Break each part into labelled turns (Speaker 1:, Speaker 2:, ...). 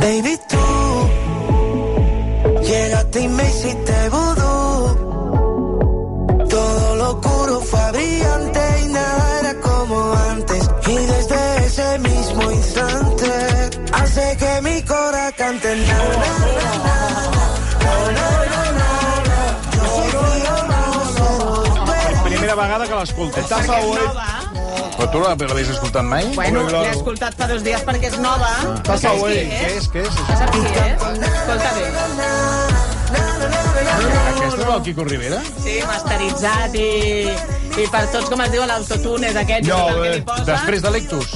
Speaker 1: Baby, tú llegaste y me hiciste vudú. Todo lo oscuro fue brillante y nada era como antes. Y desde ese mismo instante hace que mi cora cante. Na, na, na,
Speaker 2: Primera vegada que l'escoltes.
Speaker 3: Està
Speaker 4: eh?
Speaker 3: favorit.
Speaker 4: Però tu la- l'havies escoltat mai?
Speaker 3: eh? Bueno,
Speaker 2: Hombre, claro.
Speaker 3: l'he escoltat fa dos dies perquè és nova.
Speaker 2: Està
Speaker 3: Saps
Speaker 2: favorit.
Speaker 3: qui
Speaker 4: eh?
Speaker 2: Què és, què és?
Speaker 3: Ja saps qui és? Escolta bé.
Speaker 4: Aquesta és el Quico Rivera?
Speaker 3: Sí, masteritzat i, i per tots, com es diuen, l'autotunes aquest.
Speaker 2: No,
Speaker 3: tot el que
Speaker 2: eh,
Speaker 3: li posa.
Speaker 4: Després de l'Ictus?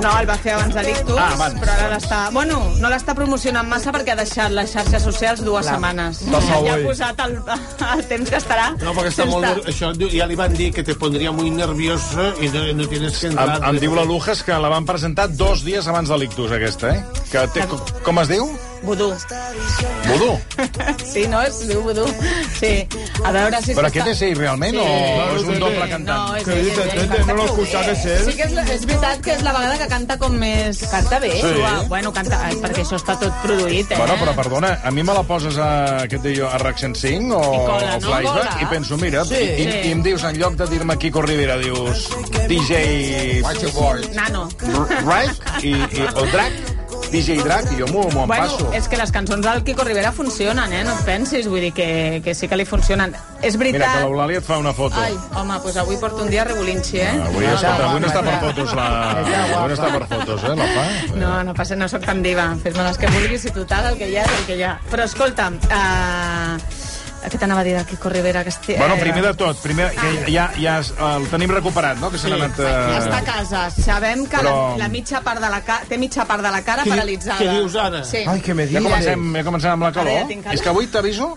Speaker 3: No, el va fer abans de l'Ictus,
Speaker 4: Ah, abans.
Speaker 3: però ara l'està... Bueno, no l'està promocionant massa perquè ha deixat les xarxes socials dues setmanes.
Speaker 2: Va ser
Speaker 3: ja ha
Speaker 4: eh?
Speaker 2: avui.
Speaker 3: posat el, el temps que estarà.
Speaker 5: No, perquè està
Speaker 3: sense-
Speaker 5: molt... ner- Això ja li van dir que te pondria muy nerviosa i no, no tienes que
Speaker 4: Em,
Speaker 5: entrar...
Speaker 4: em diu la Lujas que la van presentar dos dies abans de l'Ictus, aquesta, eh? Que té, com, com es diu?
Speaker 3: Vudú.
Speaker 4: Vudú.
Speaker 3: Sí, no? Es diu vudú. Sí. A veure si... s'està-
Speaker 4: Però aquest és ell, realment, o Eh, és un doble cantant?
Speaker 3: No, és,
Speaker 2: Que dice, "Tete, no lo escuchaves, eh?"
Speaker 3: Sí que és, la- és veritat que és la vegada que canta com més... Canta bé. Sí. Bueno, canta... eh, Perquè això està tot produït, eh?
Speaker 4: Bueno, però perdona, a mi me la poses a, què et dic jo, a Reaction 5
Speaker 3: I
Speaker 4: o,
Speaker 3: cola,
Speaker 4: o
Speaker 3: no?
Speaker 4: Flashback
Speaker 3: Cola.
Speaker 4: i penso, mira,
Speaker 3: Sí.
Speaker 4: i, i,
Speaker 3: Sí.
Speaker 4: i, em dius, en lloc de dir-me Kiko Rivera, dius DJ...
Speaker 3: Nano.
Speaker 4: Rack i, i, o Drac, DJ Drac, i jo m'ho m'ho
Speaker 3: Bueno,
Speaker 4: empasso.
Speaker 3: és que les cançons del Quico Rivera funcionen, eh? No et pensis, vull dir que, que sí que li funcionen. És
Speaker 4: Mira, que
Speaker 3: veritat...
Speaker 4: l'Eulàlia et fa una foto.
Speaker 3: Ai, home, doncs avui porto un dia revolinxi, eh?
Speaker 4: Avui, no, escolta, avui no està per fotos, la... Avui no està per fotos, eh, la fa.
Speaker 3: No, no passa, no sóc tan diva. Fes-me les que vulguis i total, el que hi ha és el que hi ha. Però escolta'm, uh, què t'anava a dir del Quico Rivera? Que esti...
Speaker 4: Bueno,
Speaker 3: eh,
Speaker 4: primer de tot, primer, que ja, ja es- el tenim recuperat, no? Que s'ha anat...
Speaker 3: Ja està a
Speaker 4: Eh...
Speaker 3: casa. Sabem que
Speaker 4: Però-
Speaker 3: la, la mitja part de la ca... té mitja part de la cara
Speaker 5: Què di-
Speaker 3: paralitzada.
Speaker 5: què dius, Anna?
Speaker 3: Sí.
Speaker 2: Ai, que me
Speaker 4: Ja
Speaker 2: dices.
Speaker 4: comencem, ja comencem amb la
Speaker 3: Ara
Speaker 4: calor.
Speaker 3: ja tinc calor.
Speaker 4: És que avui t'aviso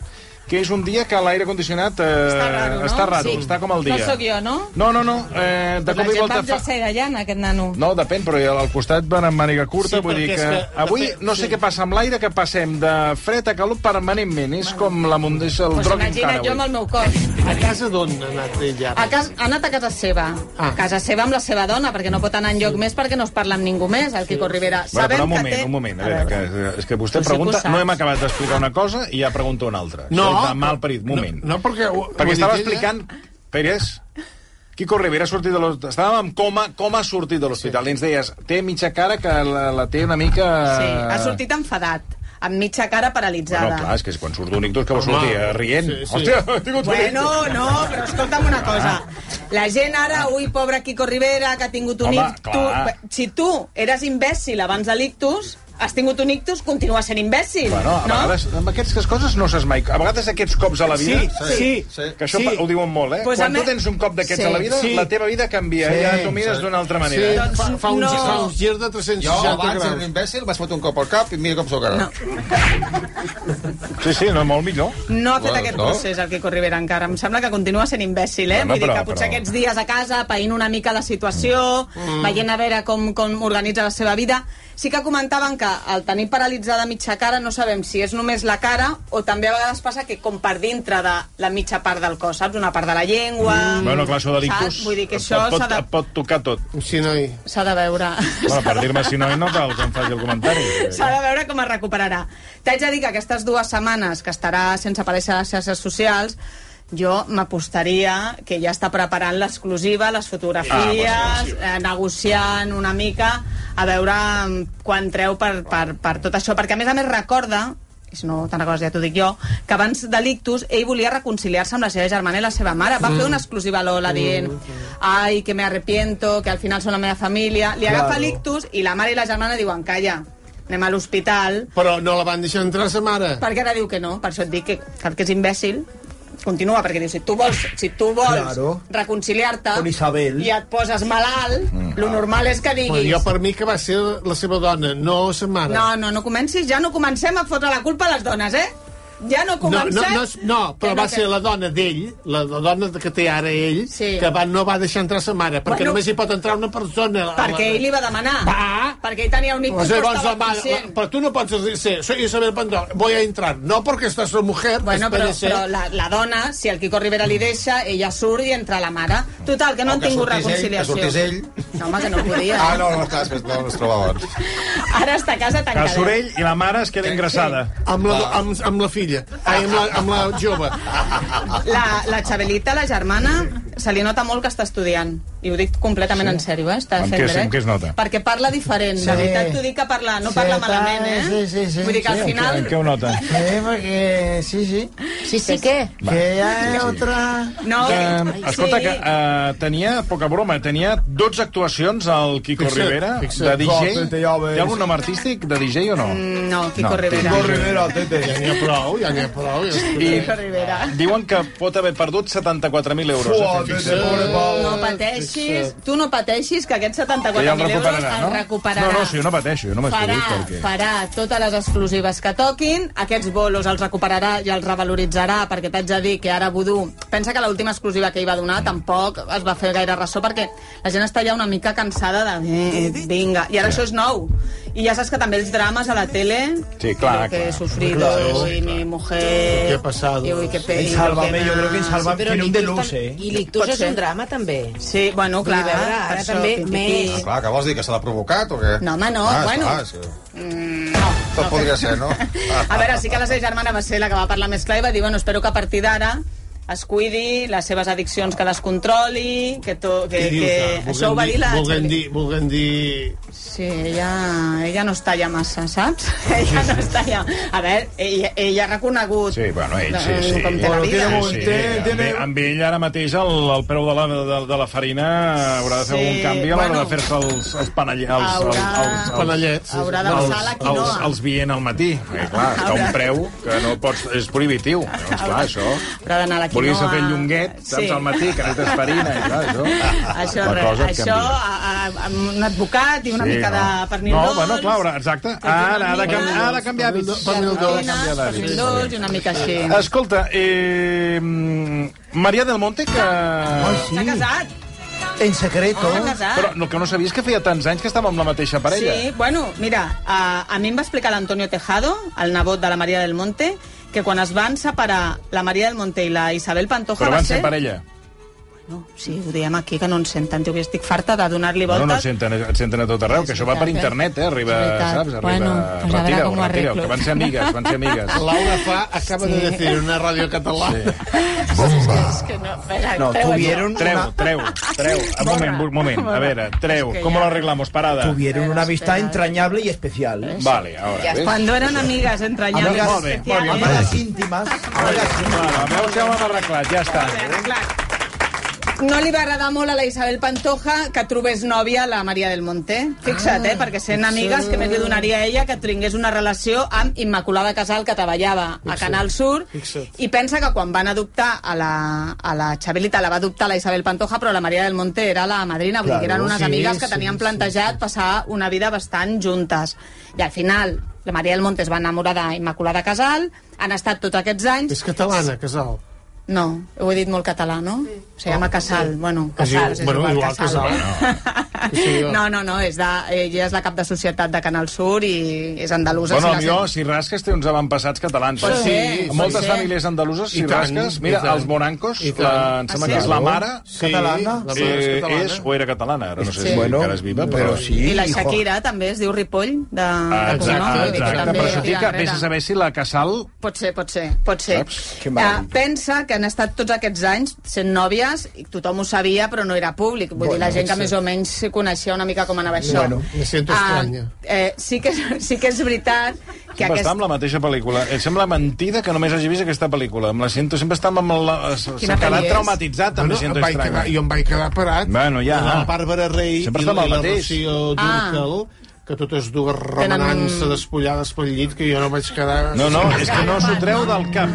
Speaker 4: que és un dia que l'aire condicionat eh,
Speaker 3: Està raro, no?
Speaker 4: està, raro
Speaker 3: Sí.
Speaker 4: està com el dia.
Speaker 3: No sóc jo, no? Doncs
Speaker 4: No, no, no. Eh,
Speaker 3: la
Speaker 4: de cop
Speaker 3: gent
Speaker 4: i
Speaker 3: va
Speaker 4: volta
Speaker 3: amb
Speaker 4: fa...
Speaker 3: jersei de llana, aquest nano.
Speaker 4: No, depèn, però al costat van amb màniga
Speaker 5: Sí,
Speaker 4: curta, vull dir
Speaker 5: perquè
Speaker 4: que...
Speaker 5: és que-
Speaker 4: Avui
Speaker 5: depèn,
Speaker 4: no sé
Speaker 5: sí.
Speaker 4: què passa amb l'aire, que passem de fred a calor permanentment. És com la mundes, el
Speaker 3: Pues
Speaker 4: rock
Speaker 3: imagina't jo amb el meu cos.
Speaker 5: A casa d'on ha anat ella?
Speaker 3: A cas, ha anat a casa seva.
Speaker 5: Ah.
Speaker 3: A casa seva amb la seva dona, perquè no pot anar enlloc més perquè no es parla amb ningú més, el Quico Rivera.
Speaker 4: Bueno, però
Speaker 3: Sabem
Speaker 4: un moment,
Speaker 3: que té...
Speaker 4: un moment. A veure, que, és que vostè
Speaker 3: Però si
Speaker 4: pregunta...
Speaker 3: tu saps.
Speaker 4: No hem acabat d'explicar una cosa i ja pregunta una altra.
Speaker 5: No.
Speaker 4: Això és de mal parit. Un moment.
Speaker 5: No, no, perquè ho- ho ha
Speaker 4: perquè estava
Speaker 5: dit ella.
Speaker 4: explicant... Pérez, Quico Rivera ha sortit de l'hospital. Estàvem amb coma, com ha sortit de l'hospital. Sí. I ens deies, té mitja cara que la, la té una mica...
Speaker 3: Sí, ha sortit enfadat, amb mitja cara paralitzada.
Speaker 4: Bueno, clar, és que és quan surt d'un ictus que va
Speaker 5: Home.
Speaker 4: sortir eh, rient.
Speaker 5: Sí, sí.
Speaker 4: Hòstia, he tingut un
Speaker 3: Bueno,
Speaker 4: ictus.
Speaker 3: no, però escolta'm una cosa.
Speaker 4: Ah.
Speaker 3: La gent ara, ui, pobre Quico Rivera, que ha tingut un
Speaker 4: Home, clar.
Speaker 3: ictus... Si tu eres imbècil abans de l'ictus, has tingut un ictus, continua sent imbècil,
Speaker 4: Bueno, a
Speaker 3: no?
Speaker 4: vegades, amb aquestes coses no saps mai. A vegades aquests cops a la vida...
Speaker 5: sí,
Speaker 4: Que això pa- ho diuen molt, eh?
Speaker 3: Pues
Speaker 4: Quan
Speaker 3: a
Speaker 4: tu
Speaker 3: me-
Speaker 4: tens un cop
Speaker 3: Sí.
Speaker 4: d'aquests a la vida,
Speaker 5: Sí.
Speaker 4: la teva vida canvia.
Speaker 5: Sí,
Speaker 4: Ja tu mires
Speaker 5: sí.
Speaker 4: d'una altra manera. eh?
Speaker 5: Sí, fa, fa, un,
Speaker 3: No.
Speaker 5: gir- fa un gir de
Speaker 6: Jo
Speaker 5: 360
Speaker 6: abans era un
Speaker 5: graus.
Speaker 6: imbècil, vaig fotre un cop al cap i mira com sóc ara. No.
Speaker 4: Sí, sí, no, molt millor.
Speaker 3: No ha fet
Speaker 6: Bueno,
Speaker 3: aquest
Speaker 6: no.
Speaker 3: procés el Quico Rivera encara. Em sembla que continua sent imbècil, eh?
Speaker 4: Bueno,
Speaker 3: Vull dir
Speaker 4: però-
Speaker 3: que potser
Speaker 4: però- Mm.
Speaker 3: aquests dies a casa, païnt una mica la situació, veient a veure com, com organitza la seva vida... Sí que comentaven que el tenir paralitzada mitja cara no sabem si és només la cara o també a vegades passa que com per dintre de la mitja part del cos, saps? Una part de la llengua... Mm.
Speaker 4: Bueno, clar, això de l'ictus...
Speaker 3: Vull dir que això
Speaker 4: et pot,
Speaker 3: s'ha de,
Speaker 4: et pot tocar tot.
Speaker 5: Sí, noi.
Speaker 3: s'ha de veure...
Speaker 4: Bueno, per dir-me si no, no cal que em faci el comentari.
Speaker 3: S'ha de veure com es recuperarà. T'haig de dir que aquestes dues setmanes que estarà sense aparèixer a les xarxes socials, jo m'apostaria que ja està preparant l'exclusiva, les fotografies,
Speaker 4: Ah,
Speaker 3: eh, negociant una mica, a veure mm, quan treu per, per, per tot això. Perquè, a més a més, recorda i si no te'n recordes ja t'ho dic jo, que abans de l'ictus ell volia reconciliar-se amb la seva germana i la seva mare. Va fer una exclusiva a l'Ola dient ai, que me arrepiento, que al final són la meva família. Li agafa l'ictus i la mare i la germana diuen calla, anem a l'hospital,
Speaker 5: Però no la van deixar entrar, sa mare.
Speaker 3: perquè ara diu que no, per això et dic que, que el que és imbècil continua, perquè diu, si tu vols, si tu vols
Speaker 2: Claro.
Speaker 3: reconciliar-te
Speaker 2: Con Isabel.
Speaker 3: i et poses malalt, mm, lo normal és que
Speaker 5: Però
Speaker 3: diguis...
Speaker 5: jo per mi que va ser la seva dona, no sa mare.
Speaker 3: No, no, no comencis, ja no comencem a fotre la culpa a les dones, eh? ja no
Speaker 5: No,
Speaker 3: comencem...
Speaker 5: no, no, és- no, però
Speaker 3: Que
Speaker 5: va
Speaker 3: que-
Speaker 5: ser la dona d'ell, la, la dona que té ara ell,
Speaker 3: Sí.
Speaker 5: que va, no va deixar entrar sa mare, perquè
Speaker 3: Bueno.
Speaker 5: només hi pot entrar una persona. a la-
Speaker 3: Perquè ell li va demanar.
Speaker 5: Va.
Speaker 3: Perquè ell tenia un ictus,
Speaker 5: Pues
Speaker 3: però
Speaker 5: llavors la
Speaker 3: estava
Speaker 5: mare, la,
Speaker 3: conscient.
Speaker 5: però tu no pots dir, sí, soy Isabel Pandora, voy a entrar. No porque esta es su mujer,
Speaker 3: Bueno, però,
Speaker 5: espérese.
Speaker 3: però la, la dona, si el Quico Rivera li deixa, ella surt i entra la mare. Total, que no
Speaker 6: O
Speaker 3: han
Speaker 6: que
Speaker 3: tingut
Speaker 6: sortís ell, que
Speaker 3: reconciliació.
Speaker 6: sortís ell.
Speaker 3: No, home, que no podia.
Speaker 6: Ah, no, no, clar, és que no, no es troba abans.
Speaker 3: Ara està a casa
Speaker 4: Que el
Speaker 3: tancada.
Speaker 4: Sorell i la mare es queda ingressada.
Speaker 5: Amb la, amb, amb la filla, ai, amb la, amb la jove.
Speaker 3: La, la Xabelita, la germana, se li nota molt que està estudiant. I ho dic completament sí. en sèrio, eh? Està
Speaker 4: Amb
Speaker 3: fent
Speaker 4: què-
Speaker 3: dret.
Speaker 4: amb què es nota?
Speaker 3: Perquè parla diferent. Sí. La veritat t'ho dic que parla, no parla malament, eh?
Speaker 7: sí, sí, sí,
Speaker 3: Vull dir que al
Speaker 7: sí,
Speaker 3: final...
Speaker 4: En què ho nota?
Speaker 8: Eh,
Speaker 7: Sí, porque sí, sí.
Speaker 9: Sí, sí, què?
Speaker 7: Que ya es otra.
Speaker 3: No,
Speaker 4: Eh,
Speaker 3: sí.
Speaker 4: escolta, que eh, tenia, poca broma, tenia 12 actuacions al Quico
Speaker 5: Fixa't,
Speaker 4: Rivera,
Speaker 5: fixa't.
Speaker 4: de DJ.
Speaker 8: Fixa't,
Speaker 4: Hi
Speaker 8: ja ho veus.
Speaker 4: ha algun nom artístic de DJ o no?
Speaker 3: Mm, No, Quico
Speaker 4: No,
Speaker 3: no, Rivera.
Speaker 8: Quico Rivera, tete.
Speaker 5: Ja n'hi ha prou, ja n'hi ha prou. Ja està.
Speaker 4: I
Speaker 3: Quico Rivera.
Speaker 4: diuen que pot haver perdut 74.000 euros.
Speaker 8: Fuà,
Speaker 4: eh?
Speaker 8: tete, pobre Pau.
Speaker 3: No pateixis, tu no pateixis que aquests
Speaker 4: Que ja el
Speaker 3: 74.000 euros
Speaker 4: recuperarà, no?
Speaker 3: es recuperarà.
Speaker 4: No, no, si jo no pateixo, jo no
Speaker 3: farà,
Speaker 4: m'estic perquè...
Speaker 3: farà totes les exclusives que toquin, aquests bolos els recuperarà i els revaloritzarà, perquè t'haig de dir que ara Vudú, pensa que l'última exclusiva que hi va donar tampoc es va fer gaire ressò, perquè la gent està ja una mica cansada de... Eh, vinga, i ara això és nou. I ja saps que també els drames a la tele...
Speaker 4: Sí, clar,
Speaker 3: lo que
Speaker 4: clar.
Speaker 3: he sufrido, claro, y mi mujer...
Speaker 5: ¿Qué ha pasado?
Speaker 3: Y, uy, qué pena.
Speaker 8: En Sálvame, jo crec que en Sálvame
Speaker 9: Però
Speaker 8: tiene un
Speaker 9: l'ictus
Speaker 8: deluxe, eh?
Speaker 9: i l'ictus
Speaker 3: Pot
Speaker 9: és
Speaker 3: ser.
Speaker 9: un drama, també.
Speaker 3: Sí, bueno, clar,
Speaker 9: Vull dir, a veure, ara
Speaker 3: per
Speaker 9: també
Speaker 3: pipipi.
Speaker 9: més.
Speaker 6: Ah, clar, que vols dir que se l'ha provocat o què?
Speaker 3: No, home, no,
Speaker 6: ah, és
Speaker 3: bueno.
Speaker 6: Clar, és que...
Speaker 3: Mm, no.
Speaker 6: Tot podria ser, no?
Speaker 3: A veure, sí que la seva germana va ser la que va parlar més clar i va dir, bueno, espero que a partir d'ara es cuidi, les seves addiccions que les controli, que, to, que,
Speaker 5: Què dius,
Speaker 3: que...
Speaker 5: ah? Vulguem
Speaker 3: eh, Això ho va dir la...
Speaker 5: Vulguem dir, vulguem dir...
Speaker 3: Sí, ella, ella no està ja massa, saps? Ella no està ja... A veure, ella, ella ha reconegut...
Speaker 4: Sí, bueno, ell sí,
Speaker 3: eh,
Speaker 4: sí.
Speaker 3: Com té la
Speaker 8: Bueno,
Speaker 3: vida.
Speaker 8: tiene
Speaker 4: Sí,
Speaker 8: Té-
Speaker 4: amb,
Speaker 8: tiene-
Speaker 4: ell- amb ell ara mateix el, el preu de la, de, de la farina haurà de fer
Speaker 3: Sí,
Speaker 4: algun canvi a l'hora
Speaker 3: bueno.
Speaker 4: de fer-se els, els, panall, els, els,
Speaker 3: Haurà-
Speaker 4: els, els,
Speaker 5: Panellets.
Speaker 3: Haurà d'avançar la
Speaker 4: els,
Speaker 3: quinoa.
Speaker 4: els vient al matí. Eh, clar, està un preu que no pots... És prohibitiu. Llavors, clar, això...
Speaker 3: Haurà d'anar a la quinoa.
Speaker 4: Volies fer el llonguet, saps, al matí, que necessites farina, i clar, això...
Speaker 3: Això,
Speaker 4: la
Speaker 3: res,
Speaker 4: cosa et
Speaker 3: això
Speaker 4: canvia.
Speaker 3: a, a, amb un advocat i una
Speaker 4: Sí,
Speaker 3: mica
Speaker 4: no.
Speaker 3: de pernil
Speaker 4: No, bueno, clar, ara, exacte. Ara ha de, canvi, ha de canviar hàbits.
Speaker 5: Pernil dolç.
Speaker 4: Ha de canviar d'hàbits.
Speaker 3: Pernil dolç i una mica així.
Speaker 4: Escolta, eh, mm, Maria del Monte, que...
Speaker 3: S'ha casat.
Speaker 7: En secreto.
Speaker 3: S'ha casat.
Speaker 4: Però el que no sabia és que feia tants anys que estava amb la mateixa parella.
Speaker 3: Sí, bueno, mira, a, a mi em va explicar l'Antonio Tejado, el nebot de la Maria del Monte, que quan es van separar la Maria del Monte i la Isabel Pantoja
Speaker 4: Però
Speaker 3: va
Speaker 4: van
Speaker 3: ser...
Speaker 4: ser parella.
Speaker 3: No, sí, ho diem aquí, que no ens senten. Tio, que estic farta de donar-li
Speaker 4: No,
Speaker 3: voltes.
Speaker 4: no, et senten, et senten a tot arreu, que això va per internet, eh? Arriba,
Speaker 9: És veritat.
Speaker 4: saps? Arriba,
Speaker 9: Bueno, pues a veure
Speaker 4: retira-ho,
Speaker 9: com
Speaker 4: retira-ho,
Speaker 9: ho arreglo.
Speaker 4: que van ser amigues, van ser amigues.
Speaker 5: Laura fa, acaba sí. de decir una ràdio catalana. Sí.
Speaker 8: No, tuvieron
Speaker 4: Treu, treu, treu. Un moment, un moment, a veure, treu.
Speaker 3: que
Speaker 4: ¿Cómo
Speaker 3: ja-
Speaker 4: lo arreglamos? Parada.
Speaker 8: Tuvieron una amistad entrañable y especial. ¿eh?
Speaker 4: Vale, ahora. ¿ves?
Speaker 3: Cuando eran amigas entrañables.
Speaker 8: Amigas,
Speaker 4: molt bé, molt bé.
Speaker 3: especiales.
Speaker 8: Amigas íntimas.
Speaker 4: Claro, veus que ho hem arreglat, ja està.
Speaker 3: Clar. No li va agradar molt a la Isabel Pantoja que trobés nòvia a la Maria del Monte. Fixa't, eh? Perquè sent amigues, que més li donaria a ella que tingués una relació amb Immaculada Casal, que treballava a Canal Sur. I pensa que quan van adoptar a la, a la Xabelita, la va adoptar la Isabel Pantoja, però la Maria del Monte era la madrina. Vull dir que eren unes amigues que tenien plantejat passar una vida bastant juntes. I al final, la Maria del Monte es va enamorar d'Immaculada Casal, han estat tots aquests anys...
Speaker 5: És catalana, Casal. No,
Speaker 3: No, ho he dit molt català, no? Sí. Se llama Casal, bueno,
Speaker 5: És igual-
Speaker 3: Casal, és
Speaker 5: bueno,
Speaker 3: igual,
Speaker 5: igual
Speaker 3: Casal.
Speaker 5: Sí, jo.
Speaker 3: No, no, no, és de, ella és la cap de societat de Canal Sur i és andalusa.
Speaker 4: Bueno,
Speaker 3: si la
Speaker 4: jo,
Speaker 3: sent-
Speaker 4: si rasques, té uns avantpassats catalans.
Speaker 5: Pues sí,
Speaker 4: eh?
Speaker 5: sí,
Speaker 4: Moltes
Speaker 3: sí.
Speaker 4: famílies andaluses, si
Speaker 5: I tant,
Speaker 4: rasques...
Speaker 5: i
Speaker 4: Mira,
Speaker 5: tant.
Speaker 4: els morancos,
Speaker 5: I tant.
Speaker 4: la, em
Speaker 3: Ah,
Speaker 4: sembla que
Speaker 3: sí?
Speaker 4: és la mare...
Speaker 8: Catalana?
Speaker 5: La mare és
Speaker 4: Eh,
Speaker 5: catalana.
Speaker 4: és o era catalana, ara no sé
Speaker 3: Sí.
Speaker 4: si
Speaker 8: Bueno,
Speaker 4: encara és viva, però...
Speaker 8: però sí.
Speaker 3: I la
Speaker 8: hijo.
Speaker 3: Shakira també es diu Ripoll. De...
Speaker 4: Ah,
Speaker 3: de cognom,
Speaker 4: Exacte,
Speaker 3: vull dir que
Speaker 4: exacte.
Speaker 3: també
Speaker 4: Per això
Speaker 3: tira
Speaker 4: dic que vés a
Speaker 3: enrere.
Speaker 4: saber si la Casal...
Speaker 3: Pot ser, pot ser, pot ser.
Speaker 4: Saps?
Speaker 8: Que mal.
Speaker 3: Eh, pensa que han estat tots aquests anys sent nòvies, i tothom ho sabia, però no era públic. Vull bueno, dir, la gent que més o menys se coneixia una mica com anava això.
Speaker 5: Bueno, me siento estranya.
Speaker 3: Eh, sí, que, sí que és veritat que
Speaker 4: Sempre està
Speaker 3: aquest...
Speaker 4: amb la mateixa pel·lícula. Em sembla mentida que només hagi vist aquesta pel·lícula. Em la sento, sempre està amb la... S'ha
Speaker 3: pel·li
Speaker 4: quedat
Speaker 3: és?
Speaker 4: traumatitzat, també
Speaker 5: em
Speaker 4: sento
Speaker 5: vaig quedar,
Speaker 4: estrany. eh.
Speaker 5: jo em vaig quedar parat.
Speaker 4: Bueno, ja.
Speaker 5: La Bàrbara Rey
Speaker 4: Sempre
Speaker 5: i
Speaker 4: estem
Speaker 5: la,
Speaker 4: al
Speaker 5: i la
Speaker 4: mateix.
Speaker 5: Rocío Dúrcal, que totes dues remenant-se despullades pel llit, que jo no vaig quedar...
Speaker 4: No, no, és que no s'ho treu del cap.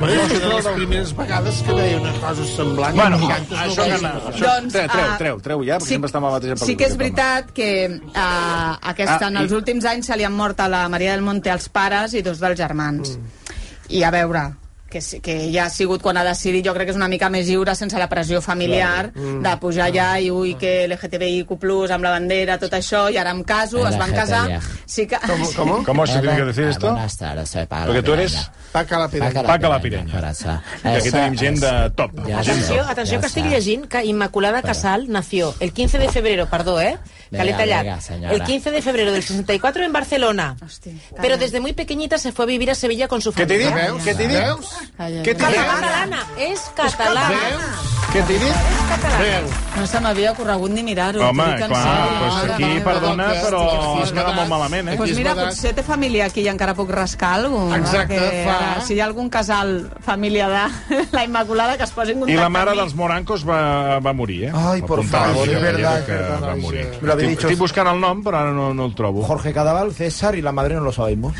Speaker 5: Bueno, és una de les primeres vegades que veia una cosa semblant.
Speaker 4: Bueno,
Speaker 5: Amb cantos
Speaker 4: això que...
Speaker 5: novel·les.
Speaker 4: Això, treu, treu,
Speaker 3: ah,
Speaker 4: treu, treu ja, Eh, perquè sempre està amb la mateixa pel·lícula.
Speaker 3: Sí que és
Speaker 4: aquest home.
Speaker 3: veritat que uh, aquesta,
Speaker 4: Ah,
Speaker 3: en els
Speaker 4: i-
Speaker 3: últims anys se li han mort a la Maria del Monte els pares i dos dels germans. Mm. i a veure que, sí- que ja ha sigut quan ha decidit, jo crec que és una mica més lliure sense la pressió familiar
Speaker 4: Mm.
Speaker 3: de pujar allà i ui, que LGTBIQ+, amb la bandera, tot això, i ara em caso, es van casar... Sí que...
Speaker 5: ¿Cómo? ¿Cómo?
Speaker 4: ¿Cómo se tiene que decir
Speaker 10: Ah,
Speaker 4: esto?
Speaker 10: Buenas tardes, soy Paco.
Speaker 4: Porque tú
Speaker 10: Pireña.
Speaker 4: eres-
Speaker 5: Taca la piranya.
Speaker 10: Paco la
Speaker 4: Paco la
Speaker 10: Pireña,
Speaker 4: Pireña.
Speaker 10: corazón.
Speaker 4: I aquí
Speaker 10: Esa
Speaker 4: tenim gent
Speaker 10: es-
Speaker 4: de top.
Speaker 10: Ja està,
Speaker 4: Gent top.
Speaker 10: ja
Speaker 9: Atenció, atenció que
Speaker 10: està.
Speaker 9: estic llegint que Immaculada Casal nació el 15 de febrero, perdó, eh?
Speaker 10: Venga,
Speaker 9: Caleta Llac.
Speaker 10: venga, señora.
Speaker 9: el 15 de febrero del 64 en Barcelona.
Speaker 3: Hosti,
Speaker 9: Pero desde muy pequeñita se fue a vivir a Sevilla con su
Speaker 4: Què t'he
Speaker 9: familia.
Speaker 4: dit?
Speaker 5: Veus?
Speaker 4: Què t'he dit?
Speaker 5: Veus?
Speaker 3: Calla,
Speaker 4: Què t'he
Speaker 9: Catalana,
Speaker 4: dit?
Speaker 9: catalana, és catalana.
Speaker 4: ¿eh? Què t'he dit?
Speaker 5: Veus?
Speaker 3: No se m'havia ocorregut ni mirar-ho.
Speaker 4: Home,
Speaker 3: t'ho dic en
Speaker 4: clar,
Speaker 3: sèrio.
Speaker 4: doncs
Speaker 3: Mare
Speaker 4: aquí,
Speaker 3: meva.
Speaker 4: perdona,
Speaker 5: Hòstia,
Speaker 4: però
Speaker 5: hòstia,
Speaker 4: has quedat
Speaker 5: hòstia.
Speaker 4: molt malament, eh?
Speaker 5: Aquí
Speaker 3: Doncs
Speaker 5: és
Speaker 3: mira,
Speaker 5: badat.
Speaker 3: potser té família aquí i encara puc rascar alguna cosa.
Speaker 5: Exacte,
Speaker 3: perquè
Speaker 5: fa.
Speaker 3: ara, Si hi ha algun casal, família de la Immaculada, que es posi en
Speaker 4: I
Speaker 3: contacte
Speaker 4: la mare
Speaker 3: amb mi.
Speaker 4: dels Morancos va, va morir, eh?
Speaker 8: Ai, por
Speaker 4: Apuntava
Speaker 8: favor,
Speaker 4: aquí
Speaker 8: és
Speaker 4: a la
Speaker 8: verdad,
Speaker 4: lletra que
Speaker 8: és verdad,
Speaker 4: va
Speaker 5: sí.
Speaker 4: morir.
Speaker 8: Me lo habéis
Speaker 4: Estic-
Speaker 8: dicho.
Speaker 4: Estic buscant el nom, però ara no, no el trobo.
Speaker 8: Jorge Cadaval, César y la madre no lo sabemos.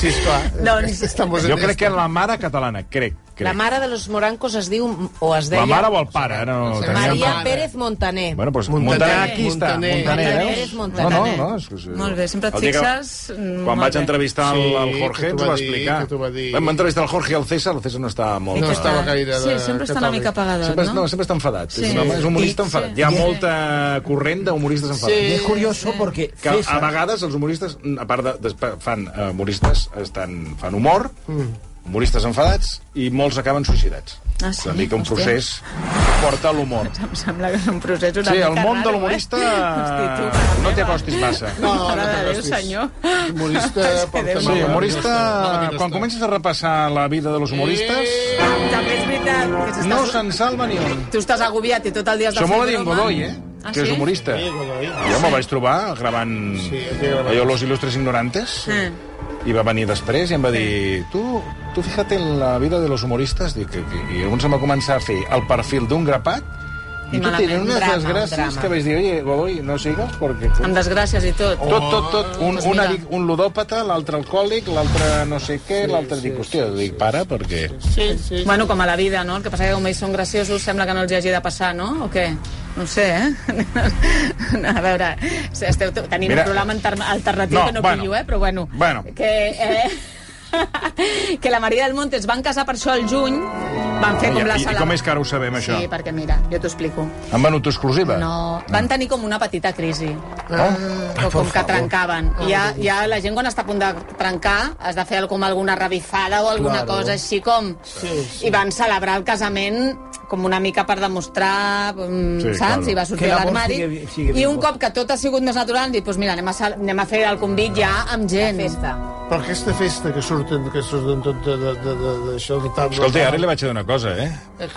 Speaker 5: Sí, esclar.
Speaker 3: Doncs-
Speaker 5: Estamos en
Speaker 4: Jo crec
Speaker 5: esto.
Speaker 4: que la mare catalana, crec.
Speaker 9: La
Speaker 4: crec.
Speaker 9: mare de los morancos es diu, o es
Speaker 4: La
Speaker 9: deia,
Speaker 4: mare o el pare, ara no...
Speaker 5: Sí.
Speaker 4: tenia-
Speaker 9: Maria
Speaker 5: mare.
Speaker 9: Pérez Montaner.
Speaker 4: Bueno, doncs
Speaker 5: Montaner,
Speaker 4: Montaner, aquí està.
Speaker 5: Montaner. eh?
Speaker 4: Montaner,
Speaker 9: Montaner,
Speaker 4: veus?
Speaker 9: és Montaner.
Speaker 4: No, no, no. És, que-
Speaker 3: Molt bé, sempre et
Speaker 4: El dia que-
Speaker 3: fixes, mm,
Speaker 4: Quan
Speaker 3: molt
Speaker 4: vaig
Speaker 3: bé.
Speaker 4: entrevistar el,
Speaker 5: Sí,
Speaker 4: el Jorge,
Speaker 5: que t'ho
Speaker 4: t'ho va
Speaker 5: va dir,
Speaker 4: explicar.
Speaker 5: que t'ho va dir.
Speaker 4: Vam entrevistar el Jorge i el César, el César no estava molt...
Speaker 5: No
Speaker 4: eh,
Speaker 5: estava gaire de
Speaker 3: Sí, sempre està una
Speaker 5: catòlic.
Speaker 3: mica apagadot,
Speaker 4: Sempre, no,
Speaker 3: no?
Speaker 4: sempre està enfadat.
Speaker 3: Sí.
Speaker 4: És, un home, és un humorista
Speaker 8: I-
Speaker 4: enfadat. Hi ha molta corrent d'humoristes enfadats.
Speaker 8: Y es curioso porque
Speaker 4: Que a
Speaker 8: César-
Speaker 4: vegades els humoristes, a part de, de fan eh, humoristes, estan, fan humor,
Speaker 5: Mm.
Speaker 4: humoristes enfadats, i molts acaben suïcidats.
Speaker 3: Ah, sí?
Speaker 4: És a dir, que un
Speaker 3: Hòstia.
Speaker 4: procés que porta a l'humor.
Speaker 3: Em sembla que és un procés una
Speaker 4: Sí,
Speaker 3: mica
Speaker 4: el món
Speaker 3: raro,
Speaker 4: de
Speaker 3: eh?
Speaker 4: l'humorista
Speaker 3: Hosti, tu, mare
Speaker 4: no t'hi
Speaker 3: meva.
Speaker 4: acostis massa.
Speaker 5: No, no,
Speaker 3: Mare
Speaker 5: no
Speaker 3: de Déu,
Speaker 5: t'acostis.
Speaker 3: senyor.
Speaker 5: Humorista porta
Speaker 3: Déu
Speaker 4: Sí,
Speaker 5: mal, eh?
Speaker 4: humorista...
Speaker 5: No, no, no,
Speaker 4: Quan
Speaker 5: no.
Speaker 4: comences a repassar la vida de los humoristes,
Speaker 3: També és veritat que s'està-
Speaker 4: no se'n salva ni un.
Speaker 3: Tu estàs agobiat i tot el dia has de
Speaker 4: Això
Speaker 3: fer
Speaker 4: molt a dir en
Speaker 3: broma.
Speaker 4: Godoy, eh?
Speaker 3: Ah,
Speaker 4: que és
Speaker 3: sí?
Speaker 4: humorista.
Speaker 5: Sí, Godoy.
Speaker 4: Jo me'l vaig trobar gravant
Speaker 5: Sí, el dia gravat.
Speaker 4: allò Los Ilustres Ignorantes.
Speaker 3: Eh.
Speaker 4: I va venir després i em va dir tu, tu fíjate en la vida de los humoristas dic, i, i un se va començar a fer el perfil d'un grapat i tu
Speaker 9: Malament,
Speaker 4: tenen unes
Speaker 9: drama,
Speaker 4: desgràcies
Speaker 9: drama.
Speaker 4: que vaig dir, oye, Godoy, no sigas perquè...
Speaker 3: Amb desgràcies i tot.
Speaker 4: Tot, tot, tot.
Speaker 3: Oh,
Speaker 4: Un,
Speaker 3: Pues
Speaker 4: un,
Speaker 3: mira.
Speaker 4: adic, un ludòpata, l'altre alcohòlic, l'altre no sé què, l'altre dic, hòstia, dic, para, perquè...
Speaker 5: Sí, sí.
Speaker 3: Bueno, com a la vida, no? El que passa que com ells són graciosos sembla que no els hi hagi de passar, no? O què? No ho sé, eh? A veure, esteu tenim
Speaker 4: Mira.
Speaker 3: un programa alter- alternatiu
Speaker 4: No,
Speaker 3: que no
Speaker 4: bueno.
Speaker 3: pillo, eh? Però bueno,
Speaker 4: Bueno.
Speaker 3: que... Eh, que la Maria del Monte es van casar per això el juny, van fer com la
Speaker 4: I, I
Speaker 3: celebra-
Speaker 4: com és que ara ho sabem, això?
Speaker 3: Sí, perquè mira, jo t'ho explico.
Speaker 4: Han venut exclusiva?
Speaker 3: No, van tenir com una petita crisi.
Speaker 4: Ah.
Speaker 3: o com que trencaven. Ja, ja la gent quan està a punt de trencar has de fer com alguna revifada o alguna
Speaker 8: Claro.
Speaker 3: cosa així com... I van celebrar el casament com una mica per demostrar, mm,
Speaker 4: Sí,
Speaker 3: saps?
Speaker 4: claro.
Speaker 3: I va sortir
Speaker 8: Que
Speaker 3: a
Speaker 8: l'amor
Speaker 3: l'armari.
Speaker 8: sigue vi- sigue
Speaker 3: I un
Speaker 8: vivo.
Speaker 3: cop que tot ha sigut més natural, han dit, doncs mira, anem a, sal- anem a fer el convit ja amb gent.
Speaker 9: Festa.
Speaker 5: Però aquesta festa que surten, que surten tot de, de, de, de, de, això de taula...
Speaker 4: Escolta, ara li vaig a dir una cosa, eh?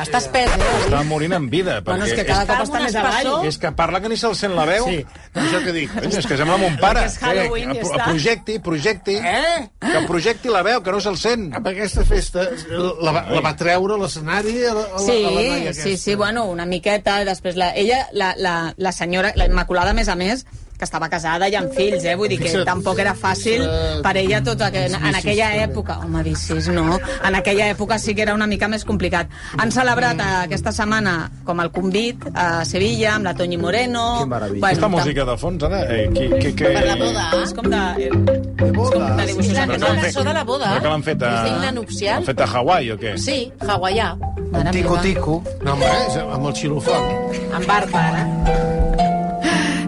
Speaker 9: Estàs perdre, eh?
Speaker 4: Està morint en vida, perquè
Speaker 3: Bueno, és que cada
Speaker 4: és,
Speaker 3: cop està
Speaker 9: Algunes
Speaker 3: més avall.
Speaker 9: passó-
Speaker 4: és que parla que ni se'l sent la veu.
Speaker 5: Sí, això que dic.
Speaker 4: Coño, és que sembla mon pare.
Speaker 3: Perquè és Halloween i
Speaker 4: que,
Speaker 3: ja
Speaker 4: pro-
Speaker 3: està.
Speaker 4: projecti, projecti.
Speaker 5: Eh?
Speaker 4: Que projecti la veu, que no se'l sent.
Speaker 3: Ah,
Speaker 5: Amb aquesta festa la, va- la va treure a l'escenari a, la- a, la- a la noia
Speaker 3: Sí,
Speaker 5: aquesta.
Speaker 3: sí, sí, bueno, una miqueta, i després la, ella, la, la, la senyora, la Immaculada, a més a més, que estava casada i amb fills, eh? Vull dir que
Speaker 5: Fixa't.
Speaker 3: tampoc era fàcil per ella tot aqu en, en aquella època. Home, vicis, no. En aquella època sí que era una mica més complicat. Han celebrat eh, aquesta setmana com el convit a Sevilla, amb la Toñi Moreno...
Speaker 8: Que meravella.
Speaker 4: Aquesta
Speaker 3: tam-
Speaker 4: música de fons, ara... Eh, qui, qui, qui...
Speaker 3: Per la boda, és com de...
Speaker 8: de boda.
Speaker 3: De dibuixos
Speaker 9: La, la
Speaker 3: animats.
Speaker 9: cançó de la boda.
Speaker 4: Però que l'han fet a...
Speaker 9: És digna nupcial.
Speaker 4: L'han fet a Hawaii o què?
Speaker 9: Sí, hawaià.
Speaker 3: Mare
Speaker 8: Tico,
Speaker 3: meva.
Speaker 8: tico.
Speaker 5: No, home, és amb el xilofon.
Speaker 9: Amb barba, ara.
Speaker 3: eh?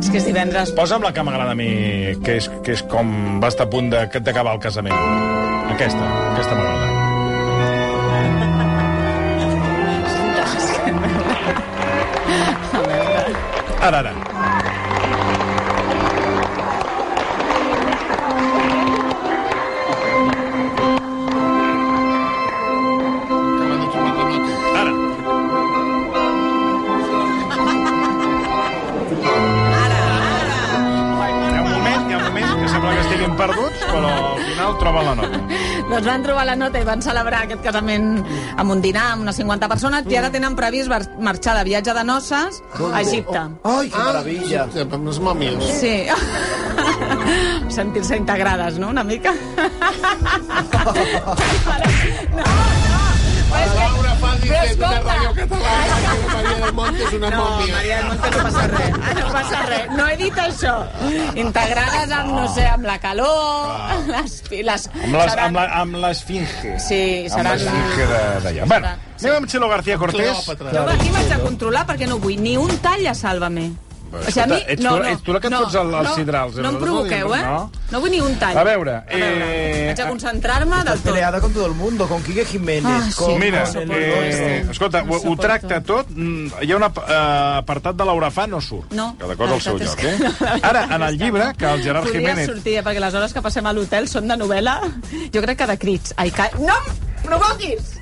Speaker 3: És que és divendres.
Speaker 4: Posa'm la que m'agrada a mi, que és, que és com va estar a punt de- d'acabar el casament. Aquesta, aquesta m'agrada. Ara, ara.
Speaker 5: Acaba de trobar la nota.
Speaker 4: Ara. Hi ha un moment, hi ha un moment que sembla que estiguin perduts, però al final troben la nota.
Speaker 3: Doncs van trobar la nota i van celebrar aquest casament amb un dinar, amb unes 50 persones, i ara tenen previst bar- marxar de viatge de noces a Egipte.
Speaker 8: Ay, qué maravilla.
Speaker 5: Ah, Sí, amb les mòmies.
Speaker 3: Sí. Sentir-se integrades, no?, una mica. No, no. Però és que
Speaker 5: Laura, fan dice una
Speaker 9: escolta.
Speaker 5: ràdio catalana que Maria del Monte és una
Speaker 3: No,
Speaker 5: mòmia.
Speaker 3: Maria del Monte, no passa res. Ah, no passa res. No he dit això. Integrades amb, no sé, amb la calor, amb les files...
Speaker 4: Ah. Amb, les, amb, la, amb l'esfinge.
Speaker 3: Sí, seran...
Speaker 4: Amb l'esfinge de- d'allà. Bueno, anem amb Chelo García Cortés.
Speaker 5: Cleòpatra.
Speaker 3: Jo aquí m'haig de controlar perquè no vull ni un tall a Sálvame. O sigui, a mi,
Speaker 4: escolta, ets
Speaker 3: no,
Speaker 4: tu-
Speaker 3: no,
Speaker 4: ets tu la que et fots al- als sidrals,
Speaker 3: No em
Speaker 4: eh?
Speaker 3: provoqueu, eh?
Speaker 4: No.
Speaker 3: No. vull ni un tall.
Speaker 4: A veure,
Speaker 3: A veure,
Speaker 4: eh,
Speaker 3: Haig de concentrar-me del tot.
Speaker 8: Peleada con todo el mundo, con Quique Jiménez,
Speaker 3: Ah, sí.
Speaker 8: con...
Speaker 4: Mira,
Speaker 3: No soporto
Speaker 4: eh,
Speaker 3: esto.
Speaker 4: escolta,
Speaker 3: No
Speaker 4: ho, ho
Speaker 3: soporto.
Speaker 4: tracta tot. Mm, Hi ha un ap- eh, apartat de l'Aurafà, no surt.
Speaker 3: No.
Speaker 4: Cada cosa al seu
Speaker 3: La
Speaker 4: lloc,
Speaker 3: veritat és que no, la
Speaker 4: eh?
Speaker 3: veritat
Speaker 4: Ara,
Speaker 3: és
Speaker 4: en el
Speaker 3: que
Speaker 4: llibre,
Speaker 3: no.
Speaker 4: que el Gerard
Speaker 3: Podria
Speaker 4: Jiménez...
Speaker 3: sortir, eh, perquè les hores que passem a l'hotel són de novel·la, jo crec que de crits. Ai, ca... No em provoquis!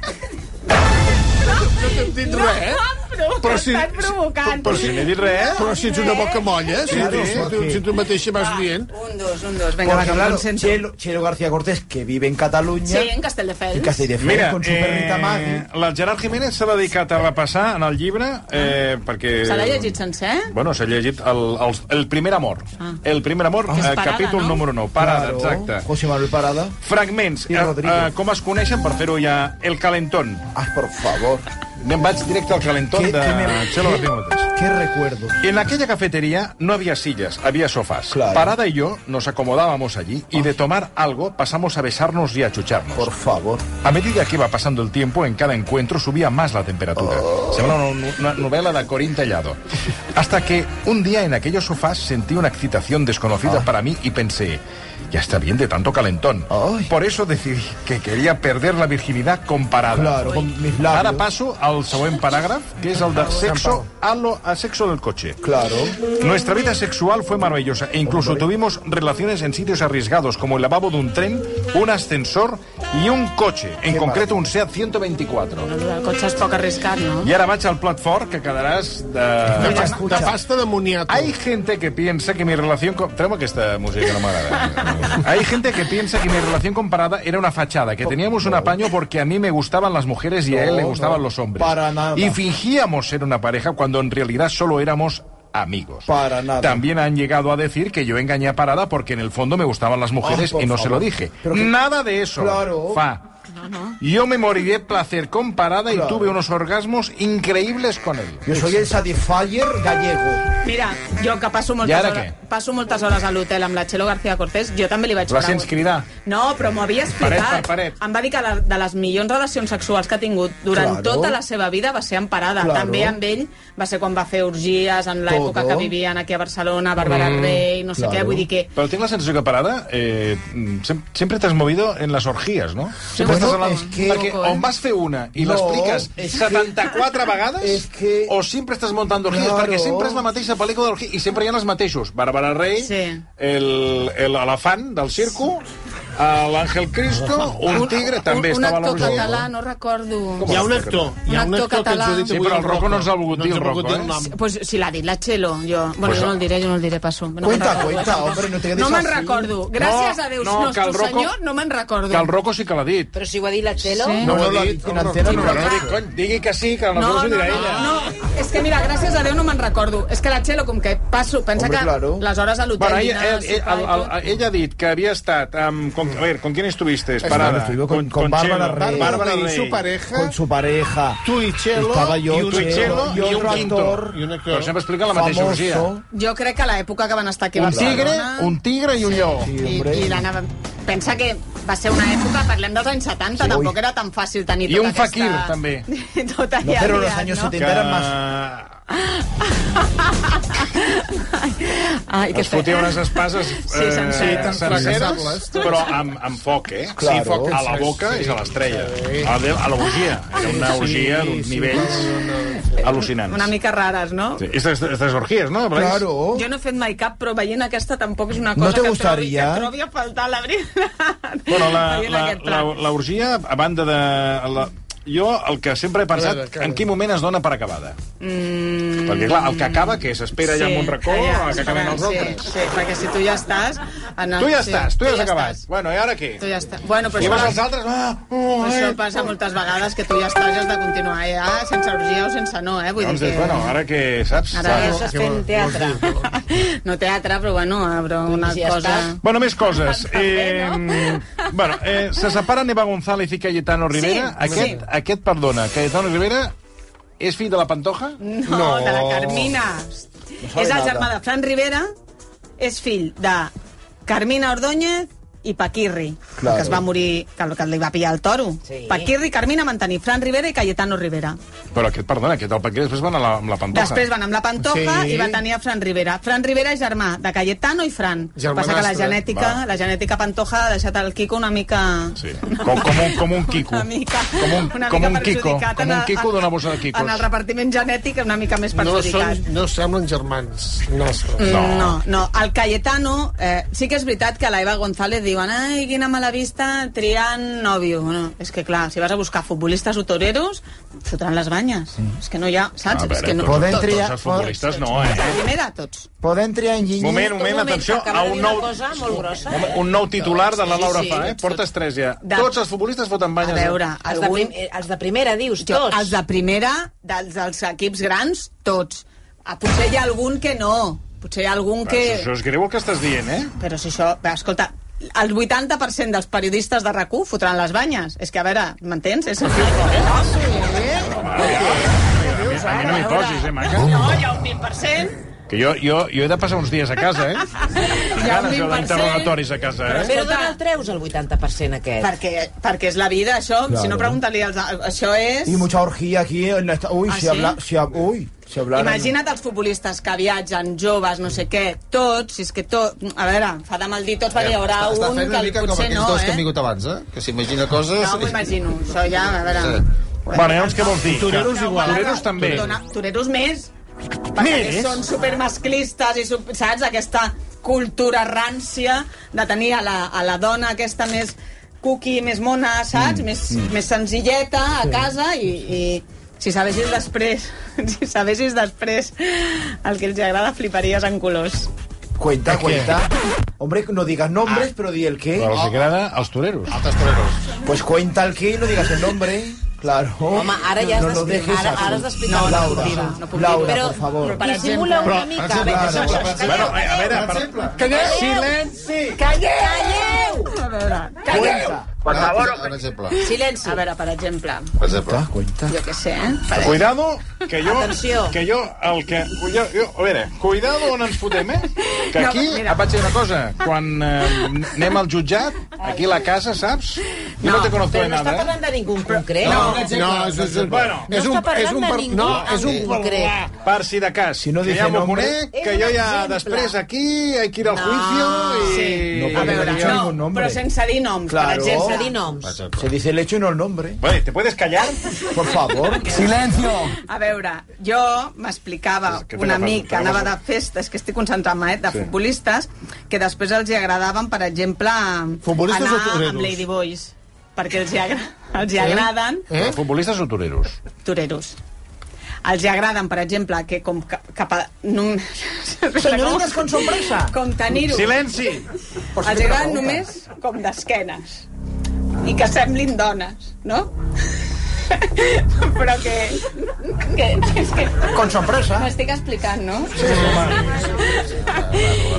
Speaker 5: No t'hem dit
Speaker 3: No
Speaker 4: eh?
Speaker 5: res.
Speaker 3: em provoquis,
Speaker 5: Però si-
Speaker 3: estàs provocant.
Speaker 5: però
Speaker 4: Si no he dit res,
Speaker 5: Però si ets una boca molla, si,
Speaker 8: Claro,
Speaker 5: si, tu,
Speaker 8: sí.
Speaker 5: si tu mateixa
Speaker 3: Ah.
Speaker 5: vas dient...
Speaker 3: Un, dos, un, dos. Vinga, va,
Speaker 8: Porque,
Speaker 3: que em
Speaker 8: claro,
Speaker 3: concentro.
Speaker 8: Chelo, Chelo García Cortés, que vive en Cataluña,
Speaker 3: Sí, en Castelldefels.
Speaker 8: en Castelldefels,
Speaker 4: Mira,
Speaker 8: con su perrita
Speaker 4: eh,
Speaker 8: Maggie.
Speaker 4: el Gerard Jiménez s'ha dedicat a repassar en el llibre eh, perquè...
Speaker 3: Ah. Se l'ha llegit sencer?
Speaker 4: Bueno, s'ha llegit el, el, el primer amor.
Speaker 3: Ah.
Speaker 4: El primer amor,
Speaker 3: Que és
Speaker 4: eh,
Speaker 3: Parada,
Speaker 4: capítol
Speaker 3: no?
Speaker 4: número 9. Parada,
Speaker 8: Claro,
Speaker 4: exacte.
Speaker 8: José Manuel Parada.
Speaker 4: Fragments,
Speaker 8: I
Speaker 4: eh,
Speaker 8: Rodríguez.
Speaker 4: eh, com es coneixen, per fer-ho ja, el calentón.
Speaker 8: Ah, por favor.
Speaker 4: Me'n vaig directe al calentón
Speaker 8: Qué-
Speaker 4: de
Speaker 8: qué me-
Speaker 4: Chelo
Speaker 8: qué-
Speaker 4: García Cortés.
Speaker 8: Qué recuerdos.
Speaker 4: En aquella cafetería no había sillas, había sofás.
Speaker 8: Claro.
Speaker 4: Parada y yo nos acomodábamos allí y de tomar algo pasamos a besarnos y a chucharnos.
Speaker 8: Por favor.
Speaker 4: A medida que iba pasando el tiempo, en cada encuentro subía más la temperatura.
Speaker 8: Oh.
Speaker 4: Se una, una novela de Corín Tellado. Hasta que un día en aquellos sofás sentí una excitación desconocida
Speaker 8: Oh.
Speaker 4: para mí y pensé, ya está bien de tanto calentón.
Speaker 8: Ay.
Speaker 4: Por eso decidí que quería perder la virginidad comparada.
Speaker 8: Claro, con mis labios.
Speaker 4: Ara passo al següent paràgraf, que és el de sexo a, lo, a sexo del coche.
Speaker 8: Claro.
Speaker 4: Nuestra vida sexual fue maravillosa e incluso tuvimos relaciones en sitios arriesgados como el lavabo de un tren, un ascensor y un coche, en
Speaker 8: Qué
Speaker 4: concreto un SEAT 124.
Speaker 3: El cotxe és poc arriscat, no?
Speaker 4: I ara vaig al plat fort, que quedaràs
Speaker 5: De,
Speaker 3: Ah,
Speaker 4: de...
Speaker 5: pas,
Speaker 8: Escucha.
Speaker 5: de pasta de moniato.
Speaker 4: Hay gente que piensa que mi relación... Con... Tremo aquesta música que no m'agrada. Hay gente que piensa que mi relación comparada era una fachada, que teníamos un apaño porque a mí me gustaban las mujeres y a él le
Speaker 8: No,
Speaker 4: gustaban
Speaker 8: no,
Speaker 4: los hombres.
Speaker 8: para nada.
Speaker 4: Y fingíamos ser una pareja cuando en realidad solo éramos amigos.
Speaker 8: Para nada.
Speaker 4: También han llegado a decir que yo engañé a Parada porque en el fondo me gustaban las mujeres
Speaker 8: Ah, por
Speaker 4: y no se lo
Speaker 8: favor.
Speaker 4: dije.
Speaker 8: Pero que-
Speaker 4: Nada de eso.
Speaker 8: Claro.
Speaker 4: Fa. Yo me morí de placer con Parada
Speaker 8: Claro.
Speaker 4: y tuve unos orgasmos increíbles con él.
Speaker 8: Yo soy el Satisfyer gallego.
Speaker 3: Mira, jo que passo moltes,
Speaker 4: I ara
Speaker 3: hores,
Speaker 4: què?
Speaker 3: passo moltes hores a l'hotel amb la Txelo García Cortés, jo també li vaig
Speaker 4: La sents cridar?
Speaker 3: No, però m'ho havia explicat.
Speaker 4: Paret per paret.
Speaker 3: Em va dir que la, de les millors relacions sexuals que ha tingut durant
Speaker 8: Claro.
Speaker 3: tota la seva vida va ser en parada.
Speaker 8: Claro.
Speaker 3: També amb ell va ser quan va fer orgies en l'època
Speaker 8: Todo.
Speaker 3: que vivien aquí a Barcelona, a Barberà
Speaker 4: Mm,
Speaker 3: del Rei, no sé
Speaker 8: claro.
Speaker 3: què, vull dir que...
Speaker 4: Pero tengo la sensación que parada, eh, mm, sem- siempre te has movido en las orgías, ¿no? Siempre
Speaker 8: Bueno,
Speaker 4: estás hablando.
Speaker 8: es que-
Speaker 4: Porque o
Speaker 3: ¿eh?
Speaker 4: más fe una y lo
Speaker 8: No,
Speaker 4: explicas
Speaker 8: es que-
Speaker 4: 74 vegades,
Speaker 8: es que-
Speaker 4: o siempre estás montando orgías,
Speaker 8: Claro.
Speaker 4: porque siempre es la mateixa pel·lícula d'orgia i sempre hi ha les mateixos. Bàrbara Rey,
Speaker 3: Sí.
Speaker 4: el, el elefant del circo, l'Àngel Cristo, un tigre, també
Speaker 3: un, un
Speaker 4: estava a
Speaker 3: actor
Speaker 4: l'orgia.
Speaker 3: català, no recordo...
Speaker 5: Hi ha un actor, hi ha
Speaker 3: Un
Speaker 5: un
Speaker 3: actor
Speaker 5: actor que ens
Speaker 3: català.
Speaker 5: ho ha dit
Speaker 4: Sí,
Speaker 5: avui
Speaker 4: però el
Speaker 5: el
Speaker 4: Rocco no ens ha volgut dir,
Speaker 5: No ens
Speaker 4: el
Speaker 5: ha volgut
Speaker 4: Rocco,
Speaker 5: dir el
Speaker 4: eh?
Speaker 5: nom.
Speaker 3: Pues si l'ha dit la Txelo, jo... Bueno,
Speaker 4: Pues
Speaker 3: jo no
Speaker 4: no.
Speaker 3: el diré, jo no el diré, passo. No me'n
Speaker 8: Cuenta,
Speaker 3: recordo.
Speaker 8: cuenta, hombre, no te quedes
Speaker 3: No me'n
Speaker 8: así.
Speaker 3: recordo. Gràcies
Speaker 4: No,
Speaker 3: a Déus
Speaker 4: no,
Speaker 3: no, nostre
Speaker 4: que el Rocco-
Speaker 3: senyor, no me'n recordo.
Speaker 4: Que el Rocco sí que l'ha dit.
Speaker 9: Pero si ho ha dit la Txelo...
Speaker 3: Sí.
Speaker 4: No,
Speaker 8: No,
Speaker 4: ho
Speaker 8: la
Speaker 4: ha dit.
Speaker 8: en antena no
Speaker 4: Però
Speaker 8: la
Speaker 4: no
Speaker 8: dice.
Speaker 4: dic, cony, digui que sí, que
Speaker 3: No,
Speaker 4: aleshores
Speaker 3: no,
Speaker 4: ho dirà
Speaker 3: no,
Speaker 4: ella.
Speaker 3: no, és que mira, gràcies a Déu no me'n recordo. És que la Txelo, com que passo, pensa
Speaker 8: Hombre,
Speaker 3: que
Speaker 8: claro.
Speaker 3: les hores a l'hotel...
Speaker 4: Bueno, eh, ella,
Speaker 3: dinar,
Speaker 4: ella,
Speaker 3: sopar i
Speaker 4: ella,
Speaker 3: tot.
Speaker 4: ella, ella ha dit que havia estat amb... Con, a veure, ¿con quién estuviste?
Speaker 8: Bueno,
Speaker 4: Parada.
Speaker 8: estuve con- con Bárbara
Speaker 4: Chelo,
Speaker 8: Rey.
Speaker 4: Bárbara
Speaker 5: Y
Speaker 4: Rey.
Speaker 5: su pareja,
Speaker 8: Con su pareja.
Speaker 5: tu y Chelo,
Speaker 8: Estaba yo,
Speaker 5: y un
Speaker 4: Tu i Chelo
Speaker 8: Chelo,
Speaker 4: i un
Speaker 8: otro
Speaker 4: quinto.
Speaker 8: actor
Speaker 5: i un actor.
Speaker 4: Però sempre expliquen la mateixa orgia.
Speaker 8: famoso.
Speaker 3: Jo crec que a l'època que van estar aquí a
Speaker 4: Un tigre,
Speaker 3: Barcelona...
Speaker 4: un tigre i un lleó.
Speaker 8: Sí,
Speaker 3: I,
Speaker 8: hombre.
Speaker 3: i l'anava... Pensa que va ser una època, parlem dels anys 70,
Speaker 8: Sí,
Speaker 3: tampoc
Speaker 8: ui.
Speaker 3: era tan fàcil tenir
Speaker 4: I
Speaker 3: tota
Speaker 4: un
Speaker 3: aquesta...
Speaker 4: fakir, també.
Speaker 3: Tota
Speaker 8: No, pero los
Speaker 3: llarga,
Speaker 8: años
Speaker 3: no?
Speaker 8: 70
Speaker 4: Que... eh,
Speaker 8: eran más...
Speaker 3: Ai, que
Speaker 4: Es fotia
Speaker 3: fe-
Speaker 4: unes espases
Speaker 3: Sí, senceres.
Speaker 4: eh,
Speaker 5: Sí, tan fracassables.
Speaker 4: però amb, amb foc, eh?
Speaker 8: Claro.
Speaker 4: Sí, foc a la boca és a l'estrella. A, de- a l'orgia. Era una orgia d'uns nivells al·lucinants.
Speaker 3: Una mica rares, no?
Speaker 4: Sí, Oh. Estas, estas orgies, no?
Speaker 8: Claro.
Speaker 3: Jo no he fet mai cap, però veient aquesta tampoc és una
Speaker 8: No
Speaker 3: cosa
Speaker 8: te
Speaker 3: que, trobi, que
Speaker 8: gustaría?
Speaker 3: trobi a faltar, la veritat.
Speaker 4: Bueno, la,
Speaker 3: Veient
Speaker 4: la,
Speaker 3: aquest
Speaker 4: la,
Speaker 3: plat.
Speaker 4: la orgia, a banda de... La... Jo el que sempre he pensat,
Speaker 5: A veure, que-
Speaker 4: en quin moment es dona per acabada? Mm... Perquè, clar, el que acaba, que s'espera ja en un racó,
Speaker 3: allà,
Speaker 4: que acaben els
Speaker 3: sí,
Speaker 4: altres.
Speaker 3: Sí, perquè si tu ja estàs... En el,
Speaker 4: Tu ja
Speaker 3: sí,
Speaker 4: estàs, tu ja has acabat. Bueno, i ara què?
Speaker 3: Tu ja estàs. Bueno, però
Speaker 4: I vas als
Speaker 3: això,
Speaker 4: altres... Ah, oh,
Speaker 3: però
Speaker 4: eh.
Speaker 3: això passa moltes vegades, que tu ja estàs i has de continuar ja, sense orgia o sense no, eh? Vull
Speaker 4: Llavors
Speaker 3: dir
Speaker 4: dius,
Speaker 3: que...
Speaker 4: bueno, doncs, ara què, saps?
Speaker 3: Ara
Speaker 9: Ja
Speaker 3: ja
Speaker 9: estàs fent teatre.
Speaker 3: No teatre, però bueno, però una
Speaker 9: ja
Speaker 3: cosa...
Speaker 9: està.
Speaker 4: Bueno, més coses.
Speaker 3: També, no?
Speaker 4: bueno, eh, se separen Eva González i Cayetano Rivera.
Speaker 3: Sí,
Speaker 4: aquest,
Speaker 3: sí.
Speaker 4: aquest, perdona, Cayetano Rivera és fill de la Pantoja?
Speaker 3: No, de la Carmina. és el germà de Fran Rivera, és fill de Carmina Ordóñez i Paquirri,
Speaker 8: Claro.
Speaker 3: que es va morir, que, que li va pillar el toro.
Speaker 9: Sí.
Speaker 3: Paquirri, Carmina Mantení, Fran Rivera i Cayetano Rivera.
Speaker 4: Però aquest, perdona, aquest del Paquer després van a la, amb la Pantoja.
Speaker 3: Després van amb la Pantoja
Speaker 5: Sí.
Speaker 3: i va tenir a Fran Rivera. Fran Rivera és germà de Cayetano i Fran. Passa que la
Speaker 5: Germanastre.
Speaker 3: genètica, la genètica Pantoja ha deixat el Quico una mica...
Speaker 4: Sí. Com, com, un, com un Quico.
Speaker 3: Una mica,
Speaker 4: com un,
Speaker 3: una
Speaker 4: com
Speaker 3: mica
Speaker 4: un Quico.
Speaker 3: perjudicat
Speaker 4: Com
Speaker 3: en
Speaker 4: un
Speaker 3: el-
Speaker 4: Quico d'una bossa de
Speaker 3: En el
Speaker 4: Quicos.
Speaker 3: repartiment genètic una mica més
Speaker 5: No,
Speaker 3: perjudicat.
Speaker 5: són, no semblen germans nostres.
Speaker 3: No. no, no. El Cayetano, eh, sí que és veritat que la Eva González diuen ai, quina mala vista, triant nòvio. No, és que clar, si vas a buscar futbolistes o toreros, fotran les banyes. És que no hi ha, saps?
Speaker 4: Mm. A veure,
Speaker 3: és que no...
Speaker 4: tots,
Speaker 11: Poden
Speaker 4: tots,
Speaker 11: triar-
Speaker 4: els futbolistes no,
Speaker 3: La
Speaker 4: eh?
Speaker 3: primera, tots.
Speaker 11: Podem triar enginyer...
Speaker 4: Moment, moment,
Speaker 9: moment,
Speaker 4: atenció
Speaker 9: que
Speaker 4: a
Speaker 9: acaba de
Speaker 4: un
Speaker 9: dir una
Speaker 4: nou...
Speaker 9: cosa molt grossa,
Speaker 4: un- Un nou titular de la
Speaker 9: Sí,
Speaker 4: Laura
Speaker 9: sí.
Speaker 4: Fa, eh? Portes tres ja.
Speaker 3: De-
Speaker 4: Tots els futbolistes foten
Speaker 3: A
Speaker 4: banyes.
Speaker 3: veure,
Speaker 9: Els de,
Speaker 3: algun...
Speaker 9: prim, eh, els de primera, dius,
Speaker 3: Jo,
Speaker 9: tots.
Speaker 3: els de primera, dels, dels equips grans, tots. Ah, potser hi ha algun que no. Potser hi ha algun que...
Speaker 4: Això, això és greu el que estàs dient, eh?
Speaker 3: Però si això... Va, escolta, el 80% dels periodistes de RAC1 fotran les banyes. És que, a veure, m'entens? És el
Speaker 4: A mi no m'hi posis, eh, maca?
Speaker 3: No, hi ha un 20%.
Speaker 4: Que jo, jo, jo he de passar uns dies a casa, eh? Hi
Speaker 3: ha un
Speaker 4: ganes jo
Speaker 3: 20%.
Speaker 4: d'interrogatoris a casa, eh?
Speaker 9: Però d'on el treus el 80% aquest?
Speaker 3: Perquè, perquè és la vida, això.
Speaker 8: Claro.
Speaker 3: Si no, pregunta-li als... Això és...
Speaker 8: Y mucha orgía aquí. En esta... Uy,
Speaker 3: ¿Ah,
Speaker 8: si
Speaker 3: sí?
Speaker 8: habla... Si hab- Uy, si hablara...
Speaker 3: Imagina't els futbolistes que viatgen, joves, no sé què, tots, si és que tot... A veure, fa de mal dir tots, perquè hi haurà
Speaker 6: Eh, està, està
Speaker 3: un
Speaker 6: fent una
Speaker 3: que
Speaker 6: mica com
Speaker 3: potser
Speaker 6: aquells
Speaker 3: no,
Speaker 6: dos que
Speaker 3: eh?
Speaker 6: han vingut abans, eh? Que s'imagina coses...
Speaker 3: No m'ho imagino, això ja, a veure...
Speaker 6: Sí.
Speaker 4: Bueno, llavors què vols dir?
Speaker 5: Toreros
Speaker 4: Que-
Speaker 5: igual.
Speaker 4: Toreros també.
Speaker 3: Dona- Toreros més. Perquè
Speaker 4: Més?
Speaker 3: aquests són supermasclistes i sub, saps? Aquesta cultura rància de tenir a la, a la dona aquesta més cuqui, més mona,
Speaker 4: Mm.
Speaker 3: saps? Més, més senzilleta a casa i... i si sabessis després, si sabessis després el que els agrada, fliparies en colors.
Speaker 8: Cuenta, cuenta. Hombre, no digas nombres, pero di el qué.
Speaker 4: Però els agrada als toreros.
Speaker 6: Altres toreros.
Speaker 8: Pues cuenta el qué y no digas el nombre. Claro.
Speaker 9: Home, ara ja has
Speaker 8: no lo
Speaker 9: d'explicar-
Speaker 8: dejes
Speaker 9: ara-
Speaker 8: así.
Speaker 9: ara has d'explicar una
Speaker 8: Laura,
Speaker 9: mentida. No
Speaker 3: puc dir.
Speaker 8: Laura,
Speaker 9: Però-
Speaker 8: por favor.
Speaker 9: Però dissimula una mica.
Speaker 6: per
Speaker 9: Vinga,
Speaker 6: exemple,
Speaker 9: això,
Speaker 6: per
Speaker 9: això,
Speaker 4: Bueno,
Speaker 9: calleu,
Speaker 4: eh, a veure,
Speaker 9: calleu.
Speaker 4: per...
Speaker 9: Calleu!
Speaker 4: Silenci!
Speaker 9: Calleu!
Speaker 3: A veure,
Speaker 8: Cuenta.
Speaker 6: Per favor... Un exemple.
Speaker 9: Silenci.
Speaker 3: a veure per exemple,
Speaker 6: Per exemple.
Speaker 8: Ah, cuenta.
Speaker 3: jo què sé, eh? Per
Speaker 4: Cuidado, que jo...
Speaker 9: Atenció.
Speaker 4: Que jo, el que... Jo, jo, a veure, cuidado on ens fotem, eh? Que
Speaker 3: No,
Speaker 4: aquí,
Speaker 3: mira.
Speaker 4: et vaig dir una cosa, quan eh, anem al jutjat, aquí a la casa, saps? Jo no,
Speaker 3: No,
Speaker 4: te conozco
Speaker 9: Però
Speaker 4: de
Speaker 9: no està
Speaker 4: nada, eh?
Speaker 9: parlant de ningú en concret.
Speaker 5: No, no, és, és un...
Speaker 4: Bueno.
Speaker 9: No
Speaker 5: és un,
Speaker 9: està parlant
Speaker 5: és un
Speaker 9: de
Speaker 5: per-
Speaker 9: ningú
Speaker 5: No,
Speaker 9: en
Speaker 5: és un...
Speaker 9: concret.
Speaker 4: Per si de cas,
Speaker 8: Si no
Speaker 4: que
Speaker 8: dije
Speaker 4: ja m'ho
Speaker 8: nombre-
Speaker 4: conec,
Speaker 9: És
Speaker 4: que
Speaker 9: un
Speaker 4: jo ja
Speaker 9: exemple.
Speaker 4: després aquí hay que ir al
Speaker 3: No,
Speaker 4: juicio
Speaker 3: sí.
Speaker 4: i...
Speaker 8: No,
Speaker 3: A
Speaker 8: perquè
Speaker 3: veure,
Speaker 8: no hi ha
Speaker 3: no,
Speaker 8: ningún nombre.
Speaker 3: però sense dir noms,
Speaker 8: Claro.
Speaker 3: per exemple.
Speaker 9: Sense dir noms.
Speaker 8: Se dice el hecho y no el nombre.
Speaker 4: Vale, ¿te puedes callar?
Speaker 8: Por favor.
Speaker 11: Silencio.
Speaker 3: A veure, jo m'explicava
Speaker 4: És que
Speaker 3: una
Speaker 4: t'agafes-
Speaker 3: mica,
Speaker 4: t'agafes-
Speaker 3: anava de festes, que estic concentrant-me, eh, de futbolistes, que després els hi agradaven, per exemple,
Speaker 5: Futbolistes
Speaker 3: anar
Speaker 5: o toreros?
Speaker 3: amb Lady Boys, perquè els hi, agra els hi agraden
Speaker 5: Eh?
Speaker 4: Futbolistes o toreros?
Speaker 3: toreros. Els hi agraden, per exemple, que com ca- cap a... No,
Speaker 11: Señoritas con sorpresa.
Speaker 3: com tenir-ho.
Speaker 4: Silenci!
Speaker 3: Els hi agraden només com d'esquenes. I que semblin dones, no? Però que... que, és que
Speaker 11: Con sorpresa.
Speaker 3: M'estic explicant, no?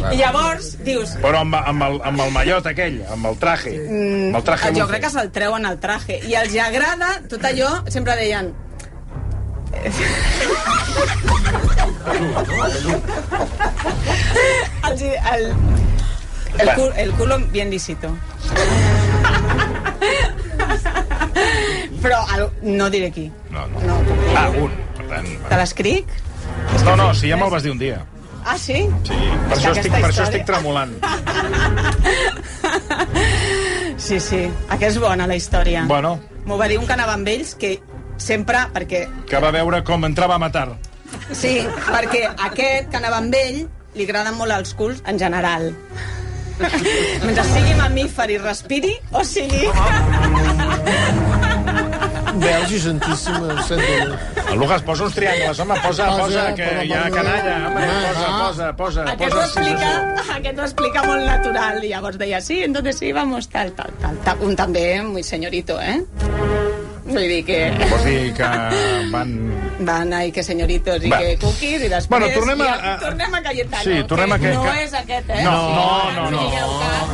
Speaker 3: I llavors dius,
Speaker 4: Però amb, amb, el, amb el mallot aquell, amb el traje. Amb el traje
Speaker 3: Ah, jo
Speaker 4: luce.
Speaker 3: crec que se'l treuen el traje. I els hi agrada tot allò, sempre deien... els, hi- el, el, cul, el culo bien lisito. Però el, no diré qui.
Speaker 4: No, no.
Speaker 3: No,
Speaker 4: Ah, un. Per tant,
Speaker 3: te l'escric?
Speaker 4: no, no, si ja me'l vas dir un dia.
Speaker 3: Ah, sí?
Speaker 4: Sí. Per,
Speaker 3: És que
Speaker 4: això estic,
Speaker 3: aquesta
Speaker 4: per això
Speaker 3: història-
Speaker 4: estic tremolant.
Speaker 3: Sí, sí. Aquesta és bona, la història.
Speaker 4: Bueno,
Speaker 3: M'ho va dir un que anava amb ells que sempre, perquè...
Speaker 4: que va veure com entrava a matar.
Speaker 3: Sí, perquè aquest que anava amb ell li agraden molt els culs en general. Mentre sigui mamífer i respiri, o sigui...
Speaker 5: Veus i santíssima, sento...
Speaker 4: El Lucas, posa uns triangles, home, posa,
Speaker 5: Posa,
Speaker 4: posa, que
Speaker 5: posa,
Speaker 4: hi ha
Speaker 5: posa.
Speaker 4: canalla, home,
Speaker 5: Ah,
Speaker 4: posa,
Speaker 5: ah.
Speaker 4: posa, posa,
Speaker 3: Aquest ho,
Speaker 4: posa.
Speaker 3: explica, aquest ho explica molt natural. I llavors deia, sí, entonces sí, vamos, tal, tal, tal. tal. Un també, muy señorito, eh? Vull dir que...
Speaker 4: Vols dir que van...
Speaker 3: Van ahí que señoritos i
Speaker 4: Va.
Speaker 3: que cookies i després...
Speaker 4: Bueno, tornem a-
Speaker 3: I, tornem a Cayetano.
Speaker 4: Sí, tornem a
Speaker 3: que...
Speaker 4: que-
Speaker 3: No
Speaker 4: que-
Speaker 3: és aquest, eh?
Speaker 4: No, no, no, no.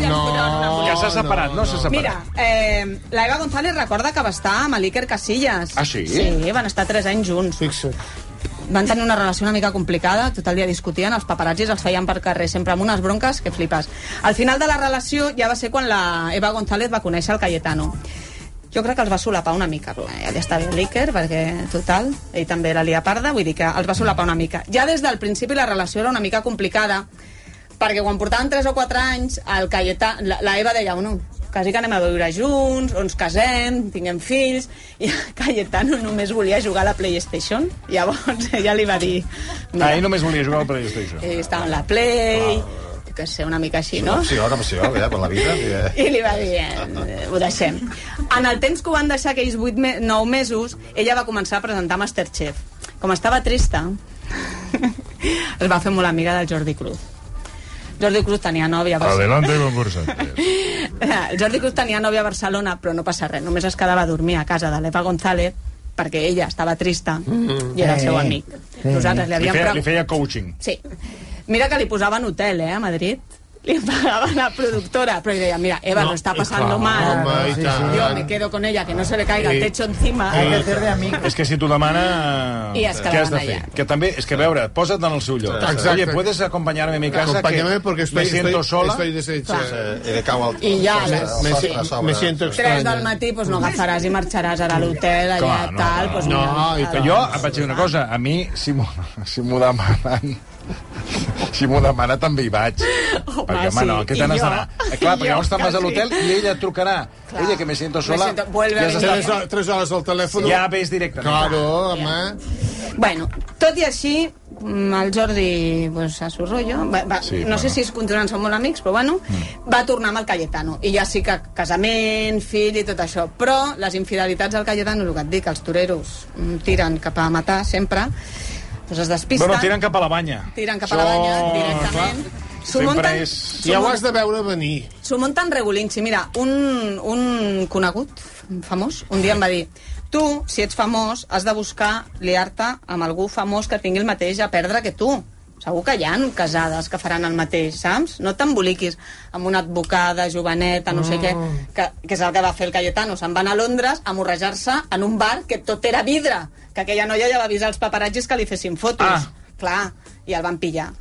Speaker 3: no.
Speaker 4: Que s'ha separat, no, s'ha separat.
Speaker 3: Mira, eh, la Eva González recorda que va estar amb l'Iker Casillas.
Speaker 4: Ah, sí?
Speaker 3: Sí, van estar 3 anys junts.
Speaker 5: Fixa't.
Speaker 3: Van tenir una relació una mica complicada, tot el dia discutien, els paparazzis els feien per carrer, sempre amb unes bronques que flipes. Al final de la relació ja va ser quan la Eva González va conèixer el Cayetano. Jo crec que els va solapar una mica. però, eh, Ja li està bé l'Iker, perquè, total, ell també era liaparda, vull dir que els va solapar una mica. Ja des del principi la relació era una mica complicada, perquè quan portaven 3 o 4 anys, el Cayetà, la, la Eva deia, no, quasi que anem a viure junts, o ens casem, tinguem fills, i el Cayetano només volia jugar a la PlayStation. Llavors ella li va dir...
Speaker 4: Mira. Ahir només volia jugar al PlayStation.
Speaker 3: Eh, estava en la Play, jo que sé, una mica així, no?
Speaker 6: Opció, una opció, ja, per la vida. Ja.
Speaker 3: I li va dir, eh, ho deixem. En el temps que ho van deixar, aquells 8 me 9 mesos, ella va començar a presentar Masterchef. Com estava trista, es va fer molt amiga del Jordi Cruz. Jordi Cruz tenia nòvia. va ser-
Speaker 4: Adelante, concursantes.
Speaker 3: Eh, El Jordi Cruz tenia nòvia a Barcelona, però no passa res, només es quedava a dormir a casa de l'Eva González perquè ella estava trista i era el seu
Speaker 8: Eh,
Speaker 3: amic. Nosaltres li
Speaker 4: Mm. Li
Speaker 3: havíem...
Speaker 4: feia,
Speaker 3: pre-
Speaker 4: li feia coaching.
Speaker 3: Sí. Mira que li posaven hotel, eh, a Madrid. Li pagava la productora, però li deia, mira, Eva, no, lo está pasando mal.
Speaker 5: home, i tant.
Speaker 3: Yo me quedo con ella, que no se le caiga el techo encima.
Speaker 8: Hay que hacer de amigo.
Speaker 4: És que si t'ho demana...
Speaker 3: I es
Speaker 4: què has de
Speaker 3: quedaven
Speaker 4: fer?
Speaker 3: allà.
Speaker 4: Que també, és que a veure, posa't en el seu lloc.
Speaker 5: Exacte.
Speaker 4: Oye, ¿puedes acompañarme a mi casa?
Speaker 5: Acompáñame
Speaker 4: que
Speaker 5: porque estoy,
Speaker 4: me siento
Speaker 5: estoy,
Speaker 4: sola.
Speaker 5: estoy deshecha.
Speaker 6: Eh, I de cau al...
Speaker 3: I ja,
Speaker 6: al-
Speaker 3: me-
Speaker 6: al-
Speaker 5: Me,
Speaker 6: al-
Speaker 5: si-
Speaker 6: a sobre.
Speaker 5: me siento extraña.
Speaker 3: 3 del matí, pues, no agafaràs i marxaràs ara a l'hotel, allà,
Speaker 4: Clar, no,
Speaker 3: tal.
Speaker 4: no,
Speaker 3: pues,
Speaker 5: no.
Speaker 3: mira,
Speaker 5: No, i
Speaker 3: a-
Speaker 5: tant.
Speaker 4: Jo em vaig dir una cosa, a mi, si m'ho si m'ho demanen... Si m'ho demana també hi vaig.
Speaker 3: Home,
Speaker 4: perquè, home,
Speaker 3: sí,
Speaker 4: no, què
Speaker 3: i
Speaker 4: te n'has
Speaker 3: jo.
Speaker 4: d'anar? Eh, Clar,
Speaker 3: I
Speaker 4: perquè llavors
Speaker 3: jo,
Speaker 4: te'n vas a
Speaker 3: quasi.
Speaker 4: l'hotel i ella et trucarà.
Speaker 3: Clar.
Speaker 4: Ella, que me siento
Speaker 3: Me
Speaker 4: sola,
Speaker 3: siento- vuelve a
Speaker 4: has
Speaker 3: venir.
Speaker 5: Tres,
Speaker 4: estat-
Speaker 5: ho- tres hores al teléfono.
Speaker 4: ja ves directament.
Speaker 5: Claro, home.
Speaker 3: Bueno, tot i així, mm, el Jordi, pues, a su rotllo, va, va,
Speaker 4: Sí,
Speaker 3: sí, no
Speaker 4: bueno.
Speaker 3: sé si es continuen sent molt amics, però bueno, mm. va tornar amb el Cayetano. I ja sí que casament, fill i tot això. Però les infidelitats del Cayetano, el que et dic, els toreros mm, tiren cap a matar sempre, doncs es despisten,
Speaker 4: Bueno, tiren cap a la banya.
Speaker 3: tiren cap a la banya
Speaker 4: Això,
Speaker 3: directament. S'ho
Speaker 4: sempre
Speaker 3: munten,
Speaker 4: és-
Speaker 5: Ja ho has de veure venir.
Speaker 3: s'ho munten regolinxi. Mira, un, un conegut, famós, un dia em va dir tu, si ets famós, has de buscar liar-te amb algú famós que tingui el mateix a perdre que tu. Segur que hi ha casades que faran el mateix, saps? No t'emboliquis amb una advocada, joveneta, no sé què, que, que és el que va fer el Cayetano. Se'n van a Londres a morrejar-se en un bar que tot era vidre, que aquella noia ja va avisar els paparazzis que li fessin fotos.
Speaker 4: Ah.
Speaker 3: Clar, i el van pillar.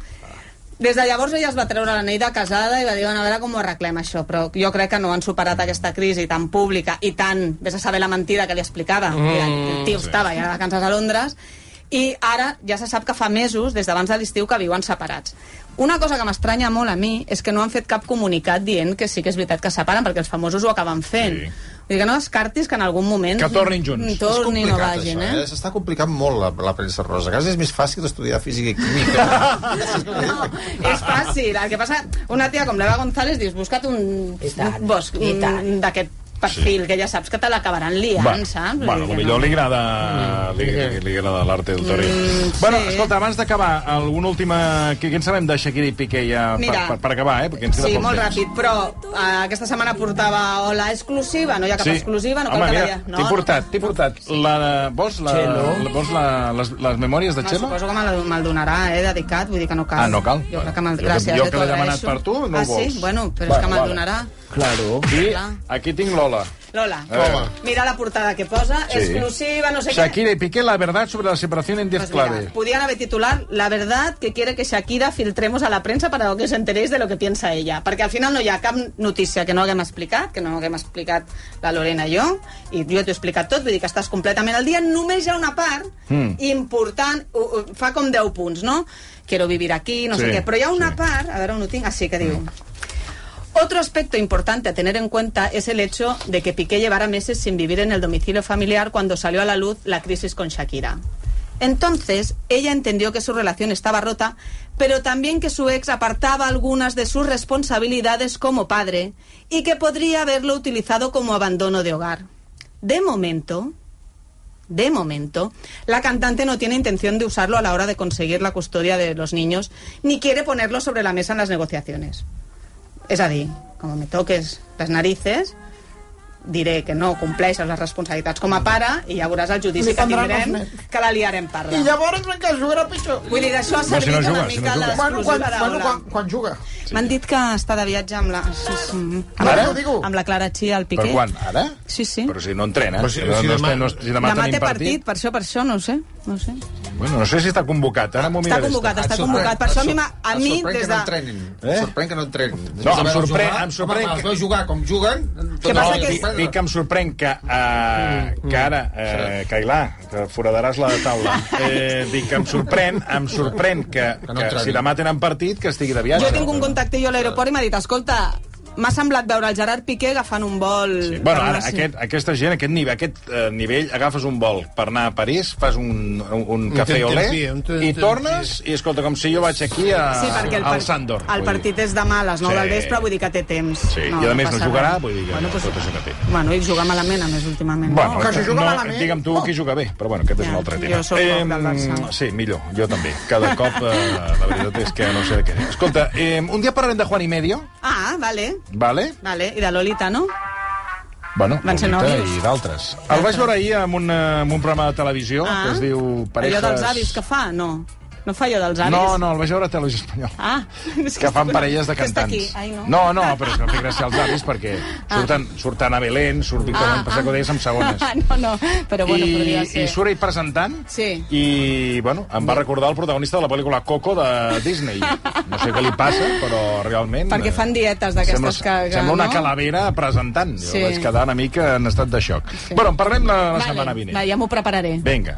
Speaker 3: Des de llavors ella es va treure la Neida casada i va dir, bueno, a veure com ho arreglem això, però jo crec que no han superat aquesta crisi tan pública i tan... Ves a saber la mentida que li explicava. Mm, el tio estava ja de vacances a Londres i ara ja se sap que fa mesos, des d'abans de l'estiu, que viuen separats. Una cosa que m'estranya molt a mi és que no han fet cap comunicat dient que sí que és veritat que es separen, perquè els famosos ho acaben fent.
Speaker 4: Sí.
Speaker 3: Sí. Vull dir que no descartis que en algun moment...
Speaker 4: Que tornin junts.
Speaker 6: És
Speaker 3: Tornin o
Speaker 6: complicat,
Speaker 3: vagin,
Speaker 6: això,
Speaker 3: eh?
Speaker 6: eh? S'està complicant molt la, la premsa rosa. A vegades és més fàcil estudiar física i química.
Speaker 3: No, és fàcil. El que passa, una tia com l'Eva González, dius, busca't un,
Speaker 11: I tant,
Speaker 3: un bosc
Speaker 11: i tant.
Speaker 3: mm, d'aquest perfil, sí. que ja saps que te l'acabaran liant,
Speaker 4: Bueno,
Speaker 3: saps? Vull
Speaker 4: Bueno,
Speaker 3: dir que
Speaker 4: millor li agrada, li, li, li agrada l'arte del toreo.
Speaker 3: Mm,
Speaker 4: bueno,
Speaker 3: sí.
Speaker 4: escolta, abans d'acabar, alguna última... Què, què en sabem de Shakira i Piqué ja
Speaker 3: Mira.
Speaker 4: per, per, per acabar, eh? Perquè ens queda
Speaker 3: Sí,
Speaker 4: poc
Speaker 3: molt
Speaker 4: temps.
Speaker 3: ràpid, però eh, aquesta setmana portava o la exclusiva, no hi ha cap exclusiva, no cal
Speaker 4: Home,
Speaker 3: que la
Speaker 4: mira,
Speaker 3: dia-
Speaker 4: t'he portat, t'he portat. La, vols, la,
Speaker 8: Chelo.
Speaker 4: la, vols la, les, les memòries de
Speaker 3: No,
Speaker 4: Txelo?
Speaker 3: suposo que me la- me'l donarà, eh, dedicat, vull dir que no cal.
Speaker 4: Ah, no cal?
Speaker 3: Jo
Speaker 4: Bueno,
Speaker 3: crec que me'l...
Speaker 4: jo que-
Speaker 3: Gràcies,
Speaker 4: jo
Speaker 3: eh,
Speaker 4: que
Speaker 3: t'ho
Speaker 4: l'he demanat
Speaker 3: agraeixo.
Speaker 4: per tu, no
Speaker 3: ah,
Speaker 4: ho vols.
Speaker 3: sí? Bueno, però és
Speaker 4: Bueno,
Speaker 3: que me'l
Speaker 4: vale.
Speaker 3: donarà.
Speaker 8: Claro.
Speaker 4: I
Speaker 3: clar.
Speaker 4: aquí tinc Lola. Eh,
Speaker 3: Lola,
Speaker 4: Lola.
Speaker 3: mira la portada que posa,
Speaker 4: Sí.
Speaker 3: exclusiva, no sé què.
Speaker 4: Shakira y Piqué, la verdad sobre la separación en 10
Speaker 3: Pues mira,
Speaker 4: clave.
Speaker 3: podían haber titular La verdad que quiere que Shakira filtremos a la premsa para que os enteréis de lo que piensa ella. Perquè al final no hi ha cap notícia que no haguem explicat, que no haguem explicat la Lorena i jo, i jo t'ho he explicat tot, vull dir que estàs completament al dia. Només hi ha una part important, u, u, fa com 10 punts, no? Quiero vivir aquí, no
Speaker 4: Sí,
Speaker 3: sé què. Però hi ha una
Speaker 4: sí.
Speaker 3: part, a veure on ho tinc, així que diu... Otro aspecto importante a tener en cuenta es el hecho de que Piqué llevara meses sin vivir en el domicilio familiar cuando salió a la luz la crisis con Shakira. Entonces, ella entendió que su relación estaba rota, pero también que su ex apartaba algunas de sus responsabilidades como padre y que podría haberlo utilizado como abandono de hogar. De momento, de momento, la cantante no tiene intención de usarlo a la hora de conseguir la custodia de los niños, ni quiere ponerlo sobre la mesa en las negociaciones. Es a dir, como me toques las narices, diré que no compleixes les responsabilitats com a pare i ja veuràs el
Speaker 5: Li
Speaker 3: judici que
Speaker 5: prendran els
Speaker 3: tindrem,
Speaker 5: nens.
Speaker 3: que la liarem parda.
Speaker 5: I llavors encara jugarà pitjor.
Speaker 3: Vull dir que això ha
Speaker 4: si
Speaker 3: servit
Speaker 4: no juga,
Speaker 3: una
Speaker 4: si
Speaker 3: mica
Speaker 4: no juga.
Speaker 3: la
Speaker 5: Bueno, quan,
Speaker 3: l'exclusiva
Speaker 5: bueno,
Speaker 3: d'Aula.
Speaker 5: quan, quan juga.
Speaker 3: M'han dit que està de viatge amb la, amb,
Speaker 5: Ara?
Speaker 3: la, amb la Clara Chia al
Speaker 4: Per
Speaker 3: Piqué.
Speaker 4: quan? Ara?
Speaker 3: Sí, sí.
Speaker 4: Però si no entrena.
Speaker 5: Però si-
Speaker 4: no,
Speaker 5: si
Speaker 4: no,
Speaker 5: demà-
Speaker 4: demà, no, si demà,
Speaker 3: Demà
Speaker 4: tenim
Speaker 3: té partit, per això, per això, no ho sé. No ho sé.
Speaker 4: Bueno, no sé si està convocat. Ara m'ho
Speaker 3: Està
Speaker 4: miraré.
Speaker 3: convocat, està
Speaker 6: Et sorprèn-
Speaker 3: convocat. Per això a mi,
Speaker 6: et
Speaker 3: m'ha- a
Speaker 6: sor-
Speaker 3: mi
Speaker 6: et sorprèn
Speaker 3: des
Speaker 6: que no
Speaker 3: de...
Speaker 6: entrenin.
Speaker 4: Eh?
Speaker 6: Eh? sorprèn que no entrenin.
Speaker 4: No, em
Speaker 6: Veus
Speaker 4: sorprèn,
Speaker 6: jugar,
Speaker 4: em sorprèn
Speaker 6: Home,
Speaker 4: que-
Speaker 6: els veus jugar com juguen...
Speaker 3: Què passa
Speaker 4: no,
Speaker 3: que
Speaker 4: dic, dic que em sorprèn que, eh, que ara, eh, Cailà, que foradaràs la taula, eh, dic que em sorprèn, em sorprèn que,
Speaker 6: Que no
Speaker 4: que
Speaker 6: entreni.
Speaker 4: si demà tenen partit, que estigui de viatge.
Speaker 3: Jo tinc un contacte jo a l'aeroport i m'ha dit, escolta, m'ha semblat veure el Gerard Piqué agafant un vol...
Speaker 4: Sí. Bueno,
Speaker 3: per
Speaker 4: ara,
Speaker 3: una-
Speaker 4: aquest, aquesta gent, aquest nivell, aquest, eh, nivell, agafes un vol per anar a París, fas un, un, un cafè au lait,
Speaker 5: tentempié, un
Speaker 4: i
Speaker 5: tentempié.
Speaker 4: tornes, i escolta, com si jo vaig aquí a,
Speaker 3: Sí, perquè el,
Speaker 4: eh, al
Speaker 3: part-
Speaker 4: Sandor. vull
Speaker 3: el
Speaker 4: dir.
Speaker 3: partit és demà a les 9
Speaker 4: Sí.
Speaker 3: del vespre, vull dir que té temps.
Speaker 4: Sí, i a més no
Speaker 3: passa res.
Speaker 4: jugarà, vull dir que
Speaker 3: Bueno, pues,
Speaker 4: tot això que té.
Speaker 3: bueno, i juga malament, a més, últimament.
Speaker 4: Bueno,
Speaker 5: que si juga malament.
Speaker 4: Digue'm tu qui juga bé, però bueno, aquest és
Speaker 3: Ja,
Speaker 4: un altre tema.
Speaker 3: jo sóc poc del Barça.
Speaker 4: sí, millor, jo també. Cada cop, eh, la veritat és que no sé de què dir. Escolta, eh, un dia parlarem de Juan i Medio,
Speaker 3: Ah, vale,
Speaker 4: vale?
Speaker 3: vale. I de Lolita, no?
Speaker 4: Bueno,
Speaker 3: Van ser
Speaker 4: Lolita
Speaker 3: nòvios.
Speaker 4: i d'altres. El vaig veure ahir en un, eh, en un programa de televisió
Speaker 3: Ah.
Speaker 4: que es diu Parejas...
Speaker 3: Allò dels avis que fa, no. No fa allò dels avis?
Speaker 4: No, no, el vaig veure a Televisió Espanyola.
Speaker 3: Ah, és
Speaker 4: que fan parelles de
Speaker 3: que està
Speaker 4: cantants.
Speaker 3: aquí. Ai, no.
Speaker 4: no, no, però és que em fa gràcia als avis perquè surten, surten a Belén, surt Víctor ah,
Speaker 3: Ah,
Speaker 4: ah. Passaco Deies amb segones.
Speaker 3: no, no, però bueno, podria
Speaker 4: I,
Speaker 3: ser.
Speaker 4: i surt ell presentant
Speaker 3: Sí.
Speaker 4: i bueno, em va recordar el protagonista de la pel·lícula Coco de Disney no sé què li passa però realment eh,
Speaker 3: Perquè fan dietes d'aquestes
Speaker 4: sembla,
Speaker 3: que- que,
Speaker 4: sembla una
Speaker 3: no?
Speaker 4: calavera presentant
Speaker 3: Sí.
Speaker 4: jo vaig quedar una mica en estat de xoc sí. bueno, en parlem la, la
Speaker 3: Vale,
Speaker 4: setmana vinent
Speaker 3: Va, ja m'ho prepararé.
Speaker 4: vinga